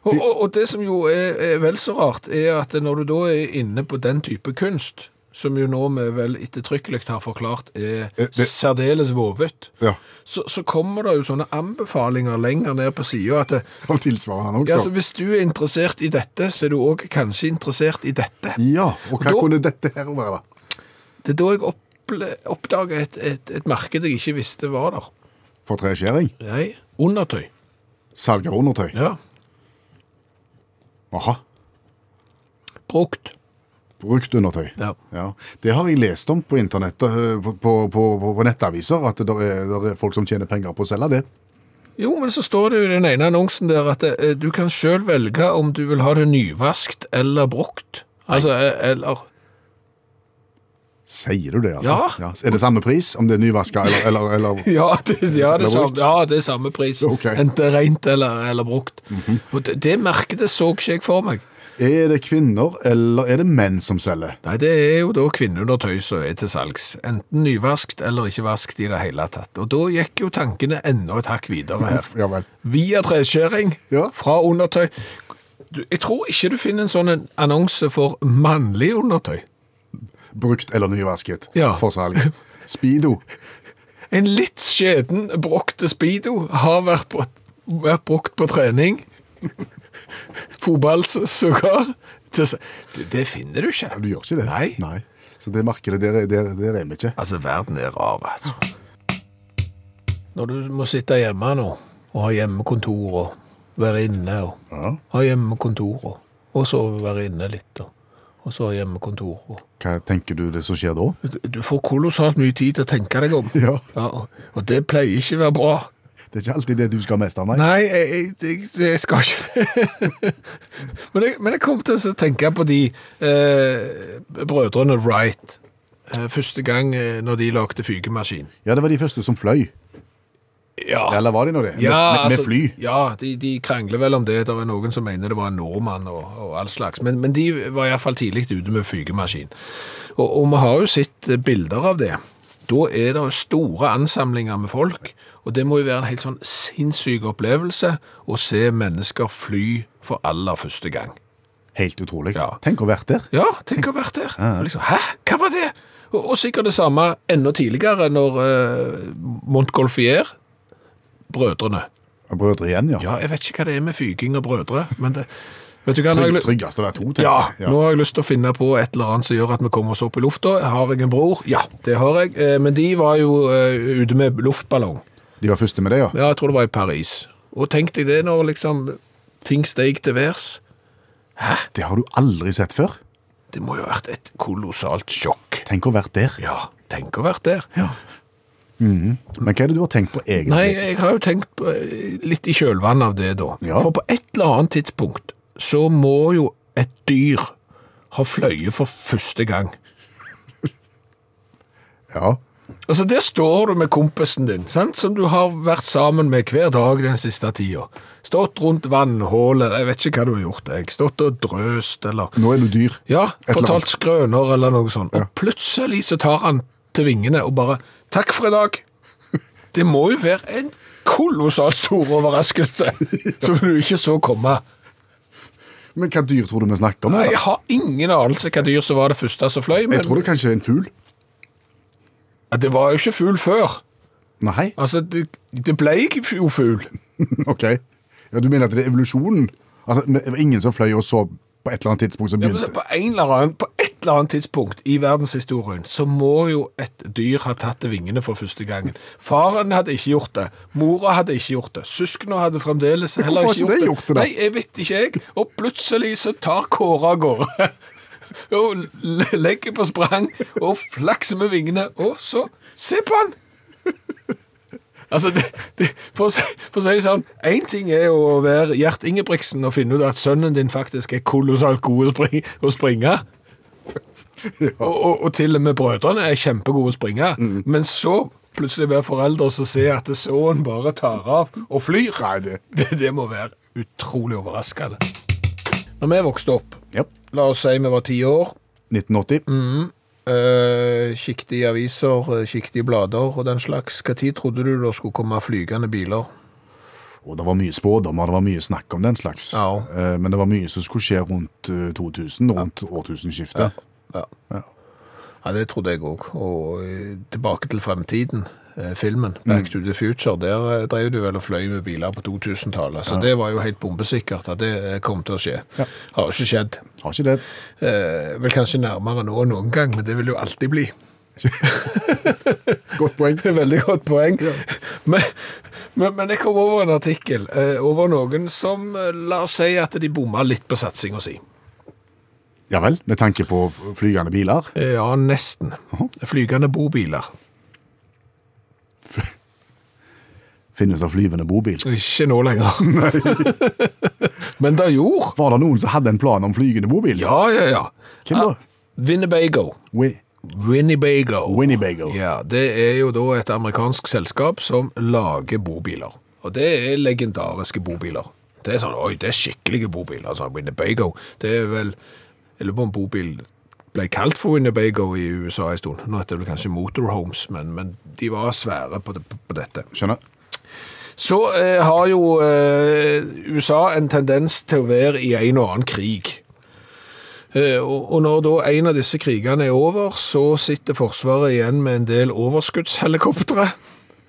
Og, og, og det som jo er, er vel så rart, er at når du da er inne på den type kunst, som jo nå vi vel ettertrykkelig har forklart er Eh, det- særdeles vovet, Ja. så, så kommer det jo sånne anbefalinger lenger ned på sida at det, Og tilsvarende ja, også. altså, hvis du er interessert i dette, så er du òg kanskje interessert i dette. Ja, og hva Da- kunne dette her være? da? Det er da jeg opple- oppdager et, et, et marked jeg ikke visste var der. For treskjæring? Nei. Undertøy. Salg av undertøy? Ja. Aha. Brukt. Brukt undertøy. Ja. Ja. Det har jeg lest om på internett, eh, på, på, på, på nettaviser, at det er, der er folk som tjener penger på å selge det. Jo, men så står det jo i den ene annonsen der at eh, du kan sjøl velge om du vil ha det nyvaskt eller brukt. Altså, eh, eller Sier du det, Ja. altså? Er det samme pris om det er nyvaska eller, eller, eller ja det, ja, Eller det er brukt. samme, ja, det er samme pris. Ok. Mhm. Enten rent eller, eller brukt. Og det, det markedet så ikke jeg for meg. Er det kvinner eller er det menn som selger? Nei, det er jo da kvinneundertøy som er til salgs. Enten nyvaskt eller ikke vaskt i det hele tatt. Og da gikk jo tankene enda et hakk videre her. Ja vel. Via treskjæring, Ja. fra undertøy. Du, jeg tror ikke du finner en sånn en annonse for mannlig undertøy. Brukt eller nyvasket Ja. for salg. Speedo. En litt skjeden brokte speedo har vært, bro- vært brukt på trening. Fotball så- sågar. Til s- Du, det finner du ikke. Du gjør ikke det? Nei. Så det markedet, der, er- der, der er vi ikke. Altså, verden er rar, altså. Når du må sitte hjemme nå, og ha hjemmekontor, og være inne, og Ja. ha hjemmekontor, og, og så være inne litt, og, og så ha hjemmekontor, og Hva tenker du det som skjer da? Du får kolossalt mye tid til å tenke deg om. Ja. og- og det pleier ikke å være bra. Det er ikke alltid det du skal mest av, nei. Nei, jeg, jeg, jeg, jeg skal ikke men, jeg, men jeg kom til å tenke på de eh, brødrene Wright. Eh, første gang eh, når de lagde fygemaskin. Ja, det var de første som fløy. Ja, Eller var de nå det? Med- med, med, altså, fly. Ja, de, de krangler vel om det. Det er noen som mener det var en nordmann og, og all slags. Men, men de var iallfall tidlig ute med fygemaskin. Og, og vi har jo sett eh, bilder av det. Da er det jo store ansamlinger med folk, og det må jo være en helt sånn sinnssyk opplevelse å se mennesker fly for aller første gang. Helt utrolig. Ja. Tenk å ha vært der. Ja, tenk å ha vært der. Og Liksom, Hæ, hva var det? Og, og sikkert det samme enda tidligere, når eh, Montgolfier, brødrene, Og Brødre igjen, ja. ja, jeg vet ikke hva det er med fyging og brødre, men det, vet du hva, nå har Trygg, jeg, lyst- tryggest å være to, tenker ja, jeg. nå har jeg lyst til å finne på et eller annet som gjør at vi kommer oss opp i lufta. Har jeg en bror? Ja, det har jeg, Eh, men de var jo eh, ute med luftballong. De var første med det, ja. Ja, jeg tror det var i Paris. Og tenkte jeg det når liksom ting steg til værs. Det har du aldri sett før. Det må jo ha vært et kolossalt sjokk. Tenk å ha vært der. Mhm. Ja, tenk å ha vært der. Men hva er det du har tenkt på egentlig? Nei, jeg har jo tenkt på, eh, litt i kjølvannet av det da. Ja. For på et eller annet tidspunkt så må jo et dyr ha fløye for første gang. Ja. Altså, der står du med kompisen din, sant? som du har vært sammen med hver dag den siste tida. Stått rundt vannhålet, jeg vet ikke hva du har gjort, jeg. Stått og drøst, eller Nå er du dyr. Ja, eller fortalt annet. skrøner, eller noe sånt. Og plutselig så tar han til vingene og bare 'Takk for i dag'. Det må jo være en kolossalt stor overraskelse som du ikke så komme. Men hva dyr tror du vi snakker om? Jeg eller? har ingen anelse hva dyr som var det første som fløy, men Jeg tror det kanskje er en fugl. det var jo ikke fugl før. Nei, Altså, det, det ble ikke jo fugl. ok. Ja, du mener at det er evolusjonen? Altså, men det var ingen som fløy og så på et eller annet tidspunkt som Ja, men så begynte. På, en eller annen, på et eller annet tidspunkt i verdenshistorien så må jo et dyr ha tatt til vingene for første gangen. Faren hadde ikke gjort det, mora hadde ikke gjort det, søsknene hadde fremdeles heller hvorfor har ikke ikke gjort det. de gjort det da? Nei, jeg vet ikke jeg. Og plutselig så tar Kåre av gårde. Og le- legger på sprang og flakser med vingene, og så Se på han! Altså, det, det, for, å si, for å si det sånn, én ting er jo å være Gjert Ingebrigtsen og finne ut at sønnen din faktisk er kolossalt god å springe, å springe. Og, og, og til og med brødrene er kjempegode springere. Mm. Men så plutselig være foreldre som ser at sønnen bare tar av og flyr. Nei, det Det, det må være utrolig overraskende. Når vi vokste opp, Ja. la oss si vi var ti år, 1980. Mm. øh, kikket i aviser, øh, kikket i blader og den slags, hva tid trodde du det skulle komme flygende biler? Og det var mye spådommer, det var mye snakk om den slags. Ja. Eh, Men det var mye som skulle skje rundt eh, 2000, rundt årtusenskiftet. Ja. ja, det trodde jeg òg. Og eh, tilbake til fremtiden, eh, filmen. Back to the future. Der eh, drev du vel og fløy med biler på 2000-tallet. Så det var jo helt bombesikkert at det eh, kom til å skje. Har jo ikke skjedd. Har ikke det. Eh, vel kanskje nærmere nå enn noen gang, men det vil det jo alltid bli. Godt poeng. Veldig godt poeng. Men, men, men jeg kom over en artikkel eh, over noen som eh, la oss si at de bomma litt på satsinga si. Ja vel, med tanke på f- flygende biler. Eh, ja, nesten. Flygende bobiler. Finnes det flyvende bobil? Ikke nå lenger. men det gjorde. Var det noen som hadde en plan om flygende bobil? Ja, ja, ja. Hvem da? Ah, Winnebago. Wi- Winnebago. Winnebago. Ja, det er jo da et amerikansk selskap som lager bobiler. Og det er legendariske bobiler. Det er sånn, oi, det er skikkelige bobiler. Altså, Winnebago, det er vel Jeg lurer på om bobil ble kalt for Winnebago i USA en stund. Nå heter det vel kanskje Motorhomes, men, men de var svære på, det, på dette. Skjønner. Så eh, har jo eh, USA en tendens til å være i en og annen krig. Eh, og, og når da en av disse krigene er over, så sitter Forsvaret igjen med en del overskuddshelikoptre.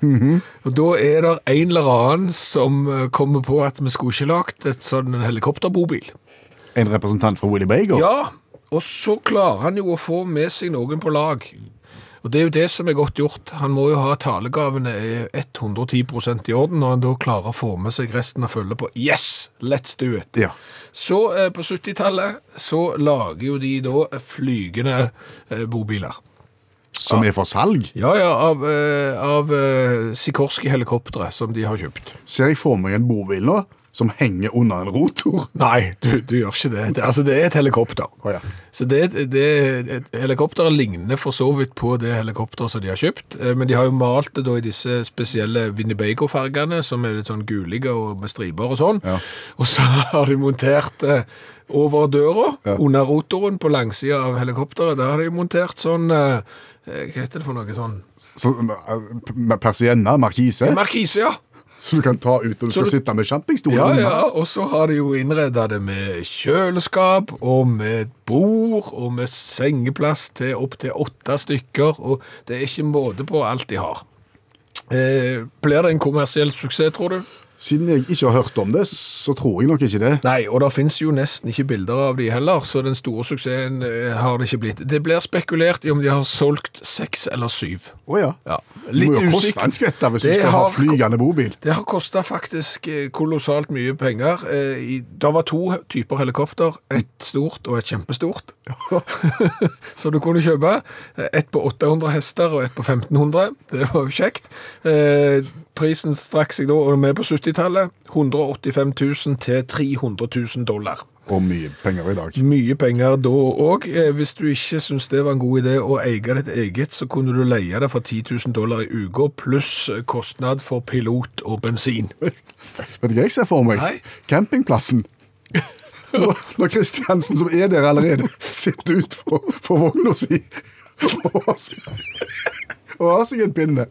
Og da er det en eller annen som eh, kommer på at vi skulle ikke lagt et sånn helikopterbobil. En representant fra Willy Bago? Ja, og så klarer han jo å få med seg noen på lag. Og det er jo det som er godt gjort. Han må jo ha talegavene eh, 110 i orden, når han da klarer å få med seg resten av følget på Yes! Let's do it! Ja. Så eh, på 70-tallet så lager jo de da flygende eh, bobiler. Som er for salg? Ja, ja, av, eh, av eh, Sikorsky-helikoptre som de har kjøpt. Ser jeg for meg en bobil nå, som henger under en rotor? Nei, du, du gjør ikke det. det. Altså, det er et helikopter. Å, ja. Så det, det, et- Helikopteret ligner for så vidt på det helikopteret som de har kjøpt, eh, men de har jo malt det da i disse spesielle Winnebago-fargene, som er litt sånn gulige og med striper og sånn. Ja. Og så har de montert eh, over døra, under rotoren på langsida av helikopteret, der har de montert sånn eh, eh, Hva heter det for noe sånn? Så, eh, p- med persienner, markise, Markise, ja! så du kan ta ut og du skal du- sitte med campingstolen Ja, under. ja, og så har de jo innreda det med kjøleskap og med bord og med sengeplass til opptil åtte stykker, og det er ikke måte på alt de har. Eh, blir det en kommersiell suksess, tror du? Siden jeg ikke har hørt om det, så tror jeg nok ikke det. Nei, og det finnes jo nesten ikke bilder av de heller, så den store suksessen eh, har det ikke blitt. Det blir spekulert i om de har solgt seks eller syv. Å ja. Ja, Det litt må jo usikkert. koste en skvett da, hvis du Det skal ha har- flygende bobil. Det har kosta faktisk eh, kolossalt mye penger. Eh, i- Det var to typer helikopter, et stort og et kjempestort, som du kunne kjøpe. Eh, Et på 800 hester og et på 1500. Det var jo kjekt. Eh, Prisen strakk seg da, og vi er på 70-tallet, 185 000 til 300 000 dollar. Og mye penger i dag. Mye penger da òg. Hvis du ikke syntes det var en god idé å eie ditt eget, så kunne du leie det for 10 000 dollar i uka, pluss kostnad for pilot og bensin. Vet du hva jeg ser for meg? Nei. Campingplassen. Når når Kristiansen, som er der allerede, sitter ut på, på vogna si og har seg, og har seg en pinne.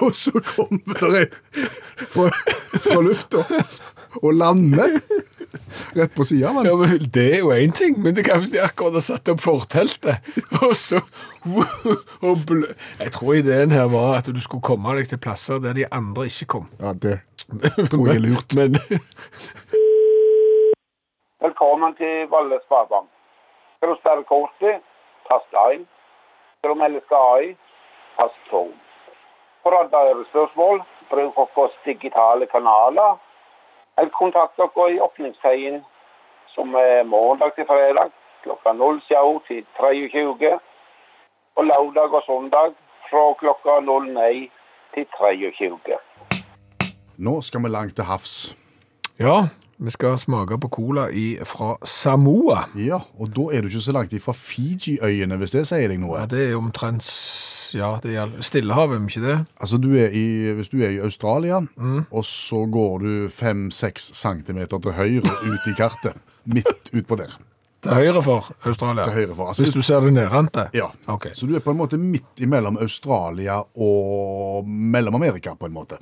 Og så kommer det en fra, fra lufta og lander rett på sida av Ja, den. men Det er jo én ting, men det kan hvis de akkurat har satt opp forteltet, og så og blø. Jeg tror ideen her var at du skulle komme deg til plasser der de andre ikke kom. Ja, det tror jeg er lurt. Men Velkommen til Valle Sparebank. Skal du sperre kortet, tast 1. Skal du melde skade, tast 2. For andre spørsmål, bruk våre digitale kanaler. Eller kontakt dere i åpningstiden, som er mandag til fredag klokka 07 til 23. Og lørdag og søndag fra klokka 09 til 23. Nå skal vi langt til havs. Ja, vi skal smake på cola i, fra Samoa. Ja, og da er du ikke så langt ifra Fiji-øyene, hvis det sier deg noe. Ja, det er omtrent s- Ja, det gjelder Stillehavet, men ikke det? Altså, du er i, Hvis du er i Australia, Mm. og så går du fem-seks centimeter til høyre ut i kartet, midt utpå der. Til høyre for Australia? Til høyre for, altså- Hvis du ser det nedrente? Ja. Ok. Så du er på en måte midt imellom Australia og Mellom-Amerika, på en måte.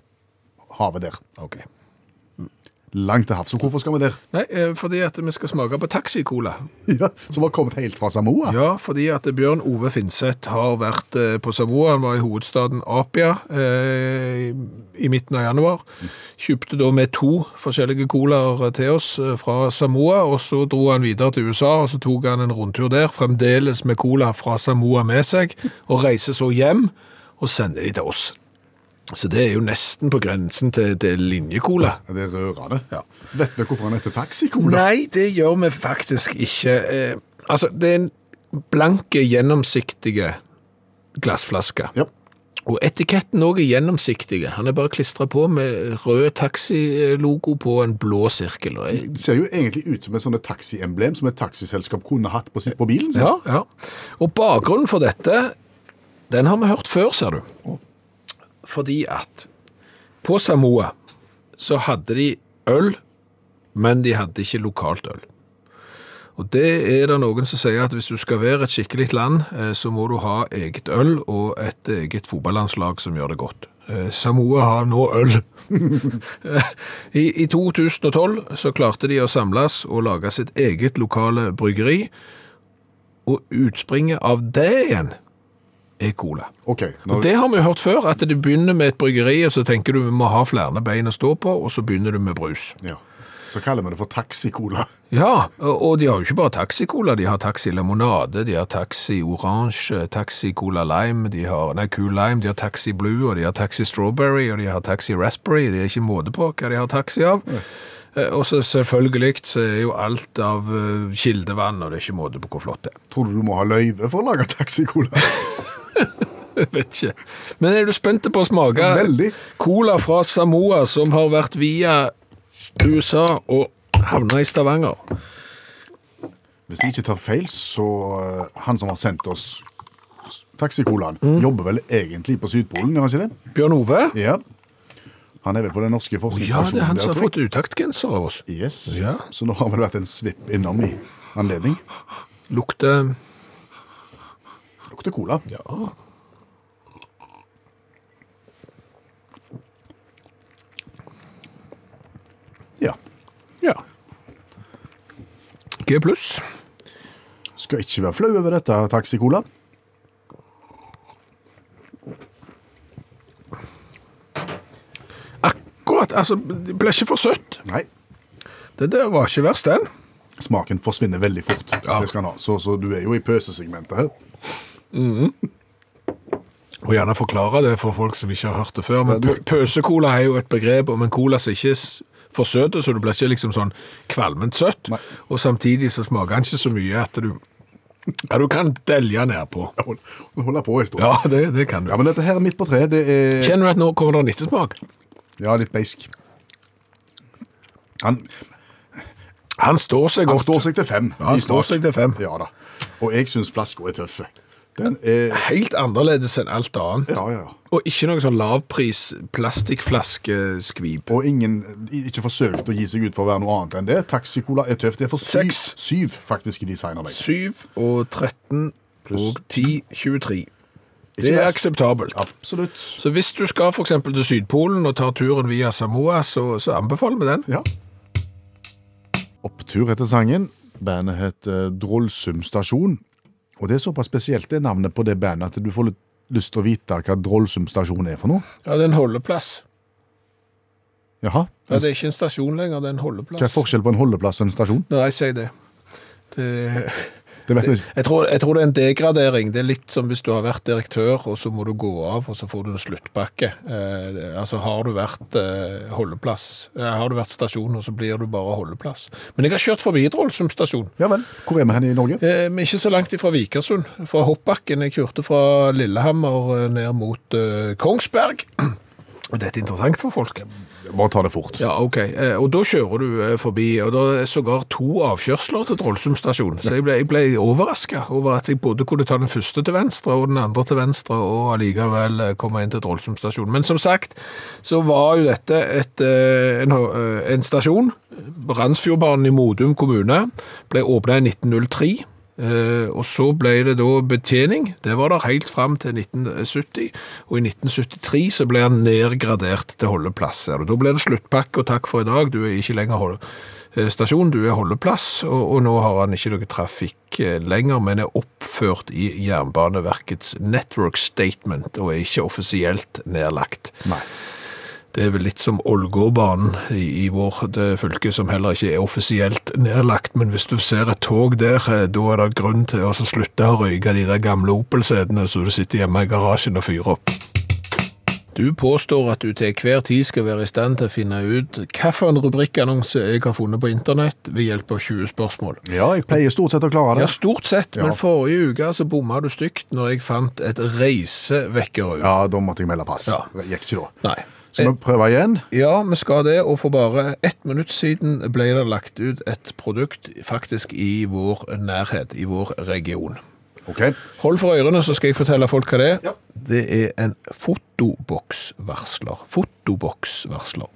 Havet der. Ok. Langt til havs. Så hvorfor skal vi der? Nei, eh, fordi at vi skal smake på taxicola. Ja, Som har kommet helt fra Samoa? Ja, fordi at Bjørn Ove Finseth har vært eh, på Samoa. Han var i hovedstaden Apia eh, i midten av januar. Kjøpte da med to forskjellige colaer til oss eh, fra Samoa, og så dro han videre til USA, og så tok han en rundtur der, fremdeles med cola fra Samoa med seg, og reiser så hjem og sender de til oss. Så det er jo nesten på grensen til, til linjecola. Det er rørende. Ja. Vet vi hvorfor han heter Taxicola? Nei, det gjør vi faktisk ikke. Eh, altså, det er en blanke, gjennomsiktige glassflaske. Ja. Og etiketten også er gjennomsiktige. Han er bare klistret på med rød taxilogo på en blå sirkel. Og jeg- Det ser jo egentlig ut som et sånt taxiemblem som et taxiselskap kunne hatt på, sitt, på bilen sin. Ja, ja. Og bakgrunnen for dette, den har vi hørt før, ser du. Fordi at på Samoa så hadde de øl, men de hadde ikke lokalt øl. Og det er det noen som sier at hvis du skal være et skikkelig land, eh, så må du ha eget øl og et eget fotballandslag som gjør det godt. Eh, Samoa har nå øl. I, I 2012 så klarte de å samles og lage sitt eget lokale bryggeri, og utspringet av det igjen er cola. Ok, Og når, det har vi jo hørt før, at du begynner med et bryggeri, og så tenker du vi må ha flere bein å stå på, og så begynner du med brus. ja. Så kaller vi det for Taxicola. Ja, og og de har jo ikke bare taxicola, de har taxilemonade, de har taxi orange, taxi cola lime, de har nei, cool lime, de har taxi blue, og de har taxi strawberry, og de har taxi raspberry, det er ikke måte på hva de har taxi av. Eh, Og så selvfølgelig så er jo alt av eh, kildevann, og det er ikke måte på hvor flott det er. Tror du du må ha løyve for å lage Taxicola? Jeg vet ikke. Men er du spent på å smake Ja, veldig. cola fra Samoa, som har vært via USA og havna i Stavanger? Hvis jeg ikke tar feil, så eh, han som har sendt oss Taxicolaen, Mm. jobber vel egentlig på Sydpolen, gjør han ikke det? Bjørn Ove? Ja. Han er vel på den norske Ja, forskningsstasjonen det er han der, som har tror jeg. fått utaktgenser av oss. Yes. Ja. Så nå har vel vært en svipp innom i anledning. Lukter Lukter cola. Ja. Ja. G pluss. Skal ikke være flau over dette, Taxicola. Akkurat. Altså, det ble ikke for søtt. Nei. Det der var ikke verst, den. Smaken forsvinner veldig fort. Ja. Det skal han ha. Så, så du er jo i pøsesegmentet her. Og gjerne forklare det for folk som ikke har hørt det før. Men pø- pøsekola er jo et begrep om en cola som ikke s- forsøter, så du blir ikke liksom sånn kvalment søtt. Nei. Og samtidig så smaker den ikke så mye at du Ja, du kan delje nedpå. Hold, holder på en stund. Ja, det, det kan du. Ja, men dette her er midt på treet. Det er Kjenner du at nå kommer det en ettersmak? Ja, litt beisk. Han, Han står seg han godt. står seg til fem. Ja, han i smak. står seg til fem. Ja da. Og jeg syns flaska er tøff. Den er Helt annerledes enn alt annet. Ja, ja. ja. Og ikke noe sånn lavpris plastikkflaskeskvip. Og ingen i- ikke forsøkte å gi seg ut for å være noe annet enn det. Taxicola er tøff. Det er for syv, Seks. syv faktisk, i designerlegg. 7 og 13 og 10, 23. Det Ikke er verst. akseptabelt. Absolutt. Så hvis du skal for eksempel til Sydpolen og tar turen via Samoa, så, så anbefaler vi den. Ja. Opptur heter sangen. Bandet heter Drollsum Stasjon. Og det er såpass spesielt det navnet på det bandet at du får litt lyst til å vite hva Drollsum Stasjon er for noe. Ja, det er en holdeplass. Jaha. Ja, det er ikke en stasjon lenger, det er en holdeplass. Hva er forskjell på en holdeplass og en stasjon? Nei, si det. det Det vet vi ikke. jeg, tror, jeg tror det er en degradering. Det er litt som hvis du har vært direktør, og så må du gå av, og så får du en sluttpakke. Eh, det- altså, har du vært eh, holdeplass, eh, har du vært stasjon, og så blir du bare holdeplass. Men jeg har kjørt forbi Drollsum stasjon. Ja vel. Hvor er vi hen i Norge? Eh, men ikke så langt ifra Vikersund. Fra hoppbakken. Jeg kjørte fra Lillehammer eh, ned mot eh, Kongsberg. Og Dette er interessant for folk. Bare ta det fort. Ja, ok. Eh, Og da kjører du eh, forbi, og det er sågar to avkjørsler til Trollsum stasjon. Så jeg ble, jeg ble overraska over at jeg både kunne ta den første til venstre og den andre til venstre, og allikevel eh, komme inn til Trollsum stasjon. Men som sagt, så var jo dette et, eh, en, eh, en stasjon. Randsfjordbanen i Modum kommune ble åpna i 1903. Eh, og så ble det da betjening. Det var der helt fram til 1970. Og i 1973 så ble han nedgradert til holdeplass. ser du. Da ble det sluttpakke og takk for i dag. Du er ikke lenger hold eh, stasjon, du er holdeplass. Og, og nå har han ikke noe trafikk eh, lenger, men er oppført i Jernbaneverkets network statement og er ikke offisielt nedlagt. Nei. Det er vel litt som Ålgårdbanen i, i vårt eh, fylke, som heller ikke er offisielt nedlagt, men hvis du ser et tog der, eh, da er det grunn til å så slutte å røyke de der gamle Opel-setene så du sitter hjemme i garasjen og fyrer opp. Du påstår at du til hver tid skal være i stand til å finne ut hvilken rubrikkannonse jeg har funnet på internett ved hjelp av 20 spørsmål. Ja, jeg pleier stort sett å klare Ja, det. stort sett, Ja. men forrige uke så bomma du stygt når jeg fant et reisevekkerøy. Ja, da måtte jeg melde pass. Ja. Det gikk ikke da. Nei. Skal vi prøve igjen? Ja, vi skal det, og for bare ett minutt siden ble det lagt ut et produkt faktisk i vår nærhet, i vår region. OK. Hold for ørene, så skal jeg fortelle folk hva det er. Det er en fotoboksvarsler. Fotoboksvarsler.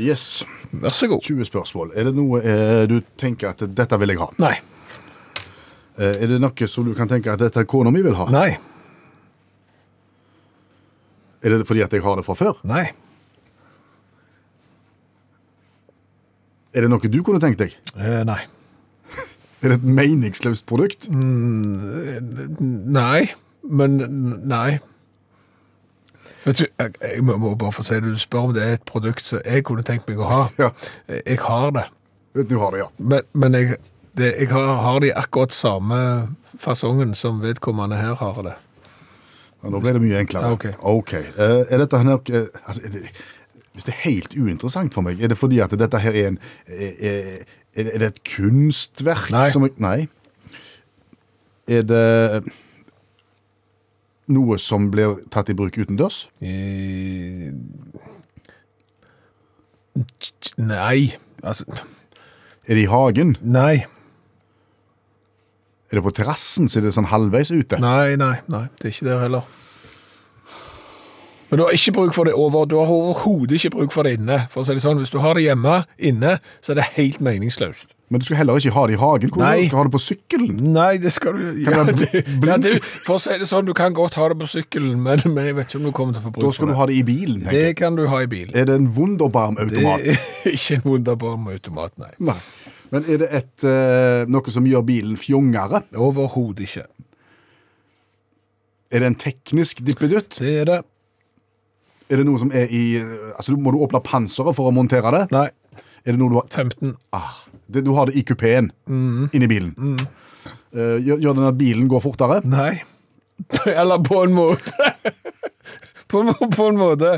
Yes. Vær så god. 20 spørsmål. Er det noe eh, du tenker at dette vil jeg ha? Nei. Eh, er det noe som du kan tenke at dette kona mi vil ha? Nei. Er det fordi at jeg har det fra før? Nei. Er det noe du kunne tenkt deg? Eh, nei. Er det et meningsløst produkt? Mm. Nei, men n- nei. Vet du, jeg, jeg må- må bare få si det. Du spør om det er et produkt som jeg kunne tenkt meg å ha. Ja. Jeg jeg har det. Du har det, ja. Men, men jeg, det, jeg har, har de akkurat samme fasongen som vedkommende her har det. Ja, Nå ble det mye enklere. Ja, ok. Eh, er dette her nok eh, altså, er det, Hvis det er helt uinteressant for meg, er det fordi at dette her er en Er, er, er det et kunstverk Nei. som jeg Nei. Er det noe som blir tatt i bruk utendørs? Eh, Nei. Altså, Er det i hagen? nei. Er det på terrassen, så er det sånn halvveis ute? Nei, nei, nei. Det er ikke der heller. Men du har ikke bruk for det over, du har overhodet ikke bruk for det inne. For å si det sånn, Hvis du har det hjemme, inne, så er det helt meningsløst. Men du skal heller ikke ha det i hagen. Hvor Nei. Du skal ha det på sykkelen. Nei, det skal du Kan ja, det være det, blink? ja, du, For å si det sånn, du kan godt ha det på sykkelen, men, men jeg vet ikke om du kommer til å få bruk Da for skal du det. ha det i bilen. tenker jeg. Eh, Det kan du ha i bilen. Er det en Wunderbarm-automat? Det er ikke en wunderbarm automat, nei. Nei. Men er det et, eh, noe som gjør bilen fjongere? Overhodet ikke. Er det en teknisk dippedutt? Det er det. Er det noe som er i eh, Altså, du- Må du åpne panseret for å montere det? Nei. Er det noe Du har 15. ah, det, Du har det i kupeen inni bilen. Eh, gjør, gjør den at bilen går fortere? Nei. Eller på en måte. på, en, må- på en måte.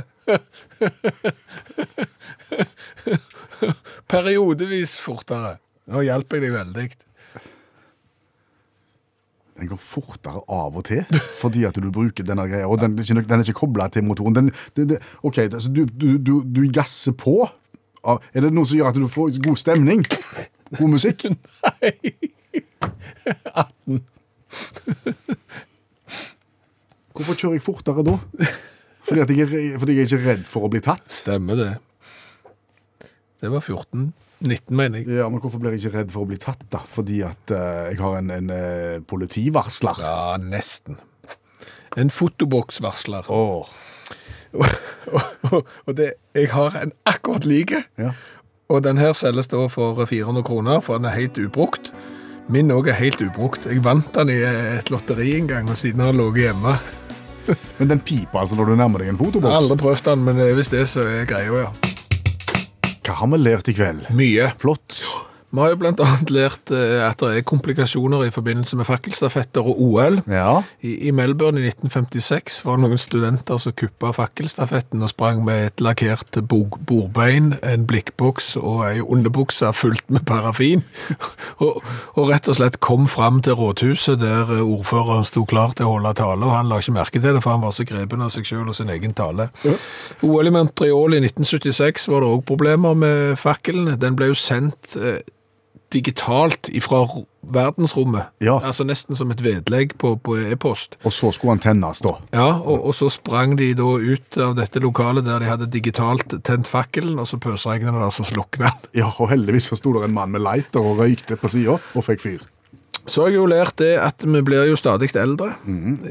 Periodevis fortere. Nå hjalp jeg deg veldig. Den går fortere av og til fordi at du bruker denne greia. Og den, er ikke- den er ikke kobla til motoren. Den, det, det, ok, det- så du, du, du, du gasser på. Ah, Er det noe som gjør at du får god stemning? God musikk? Hvorfor kjører jeg fortere da? Fordi, at jeg, er re- fordi jeg er ikke redd for å bli tatt? Stemmer det. Det var 14. 19, mener jeg. Ja, men Hvorfor blir jeg ikke redd for å bli tatt? da? Fordi at eh, jeg har en, en eh, politivarsler? Ja, nesten. En fotoboksvarsler. Åh. og, og- og det, jeg har en akkurat like. Ja. Og den her selges da for 400 kroner, for den er helt ubrukt. Min òg er helt ubrukt. Jeg vant den i et lotteri en gang, og siden har den ligget hjemme. Men den piper altså når du nærmer deg en Jeg har fotoboks? aldri prøvd den, men hvis det, så er greia, ja. Hva har vi lært i kveld? Mye. Flott. Vi har jo blant annet lært eh, at det er komplikasjoner i forbindelse med fakkelstafetter og OL. Ja. I, I Melbourne i 1956 var det noen studenter som kuppa fakkelstafetten og sprang med et lakkert bog- bordbein, en blikkboks og ei underbukse fullt med parafin. og, og rett og slett kom fram til rådhuset der eh, ordføreren sto klar til å holde tale, og han la ikke merke til det, for han var så grepen av seg sjøl og sin egen tale. OL i Montreal i 1976 var det òg problemer med fakkelen. Den ble jo sendt eh, digitalt ifra ro- verdensrommet. Ja. Altså nesten som et vedlegg på, på e-post. Og så skulle han tennes, da. Ja, og, og så sprang de da ut av dette lokalet der de hadde digitalt tent fakkelen, og så pøsregnet det, og så slukna den. Ja, og heldigvis så sto det en mann med lighter og røykte på sida, og fikk fyr. Så har jeg jo lært det at vi blir jo stadig eldre.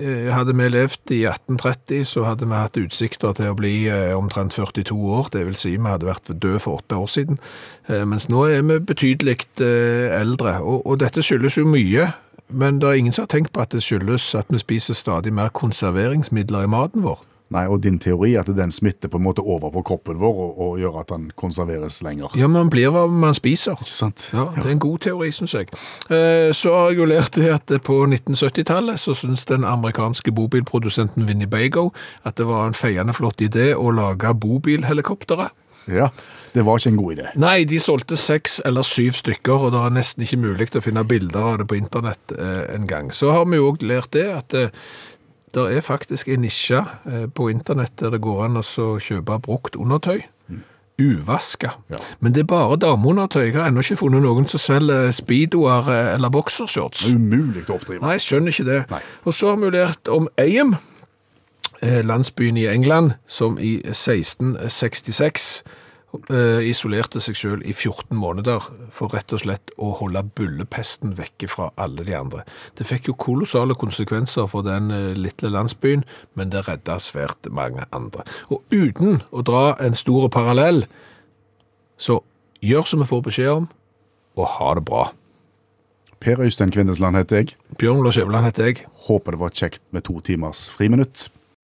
Eh, Hadde vi levd i 1830, så hadde vi hatt utsikter til å bli eh, omtrent 42 år. Det vil si vi hadde vært død for åtte år siden. Eh, Mens nå er vi betydelig eh, eldre. Og, og dette skyldes jo mye. Men det er ingen som har tenkt på at det skyldes at vi spiser stadig mer konserveringsmidler i maten vår. Nei, og din teori er at den smitter på en måte over på kroppen vår og, og gjør at den konserveres lenger. Ja, men man blir hva man spiser. Ikke sant? Ja, det er en god teori, syns jeg. Eh, Så har jeg jo lært det at på 1970-tallet så syntes den amerikanske bobilprodusenten Winnebago at det var en feiende flott idé å lage bobilhelikoptere. Ja, Det var ikke en god idé. Nei, de solgte seks eller syv stykker, og det er nesten ikke mulig å finne bilder av det på internett eh, en gang. Så har vi jo òg lært det at eh, det er faktisk en nisje eh, på internett der det går an å så kjøpe brukt undertøy. Uvaska. Ja. Men det er bare dameundertøy. Jeg har ennå ikke funnet noen som selger speedoer eh, eller boksershorts. Umulig å oppdrive. Nei, jeg skjønner ikke det. Nei. Og så har vi lært om Eim, eh, landsbyen i England, som i 1666 eh, isolerte seg selv i 14 måneder for rett og slett å holde bullepesten vekke fra alle de andre. Det fikk jo kolossale konsekvenser for den eh, lille landsbyen, men det redda svært mange andre. Og uten å dra en stor parallell, så gjør som vi får beskjed om, og ha det bra. Per Øystein Kvindesland heter jeg. Bjørn Lars Skjæveland heter jeg. Håper det var kjekt med to timers friminutt.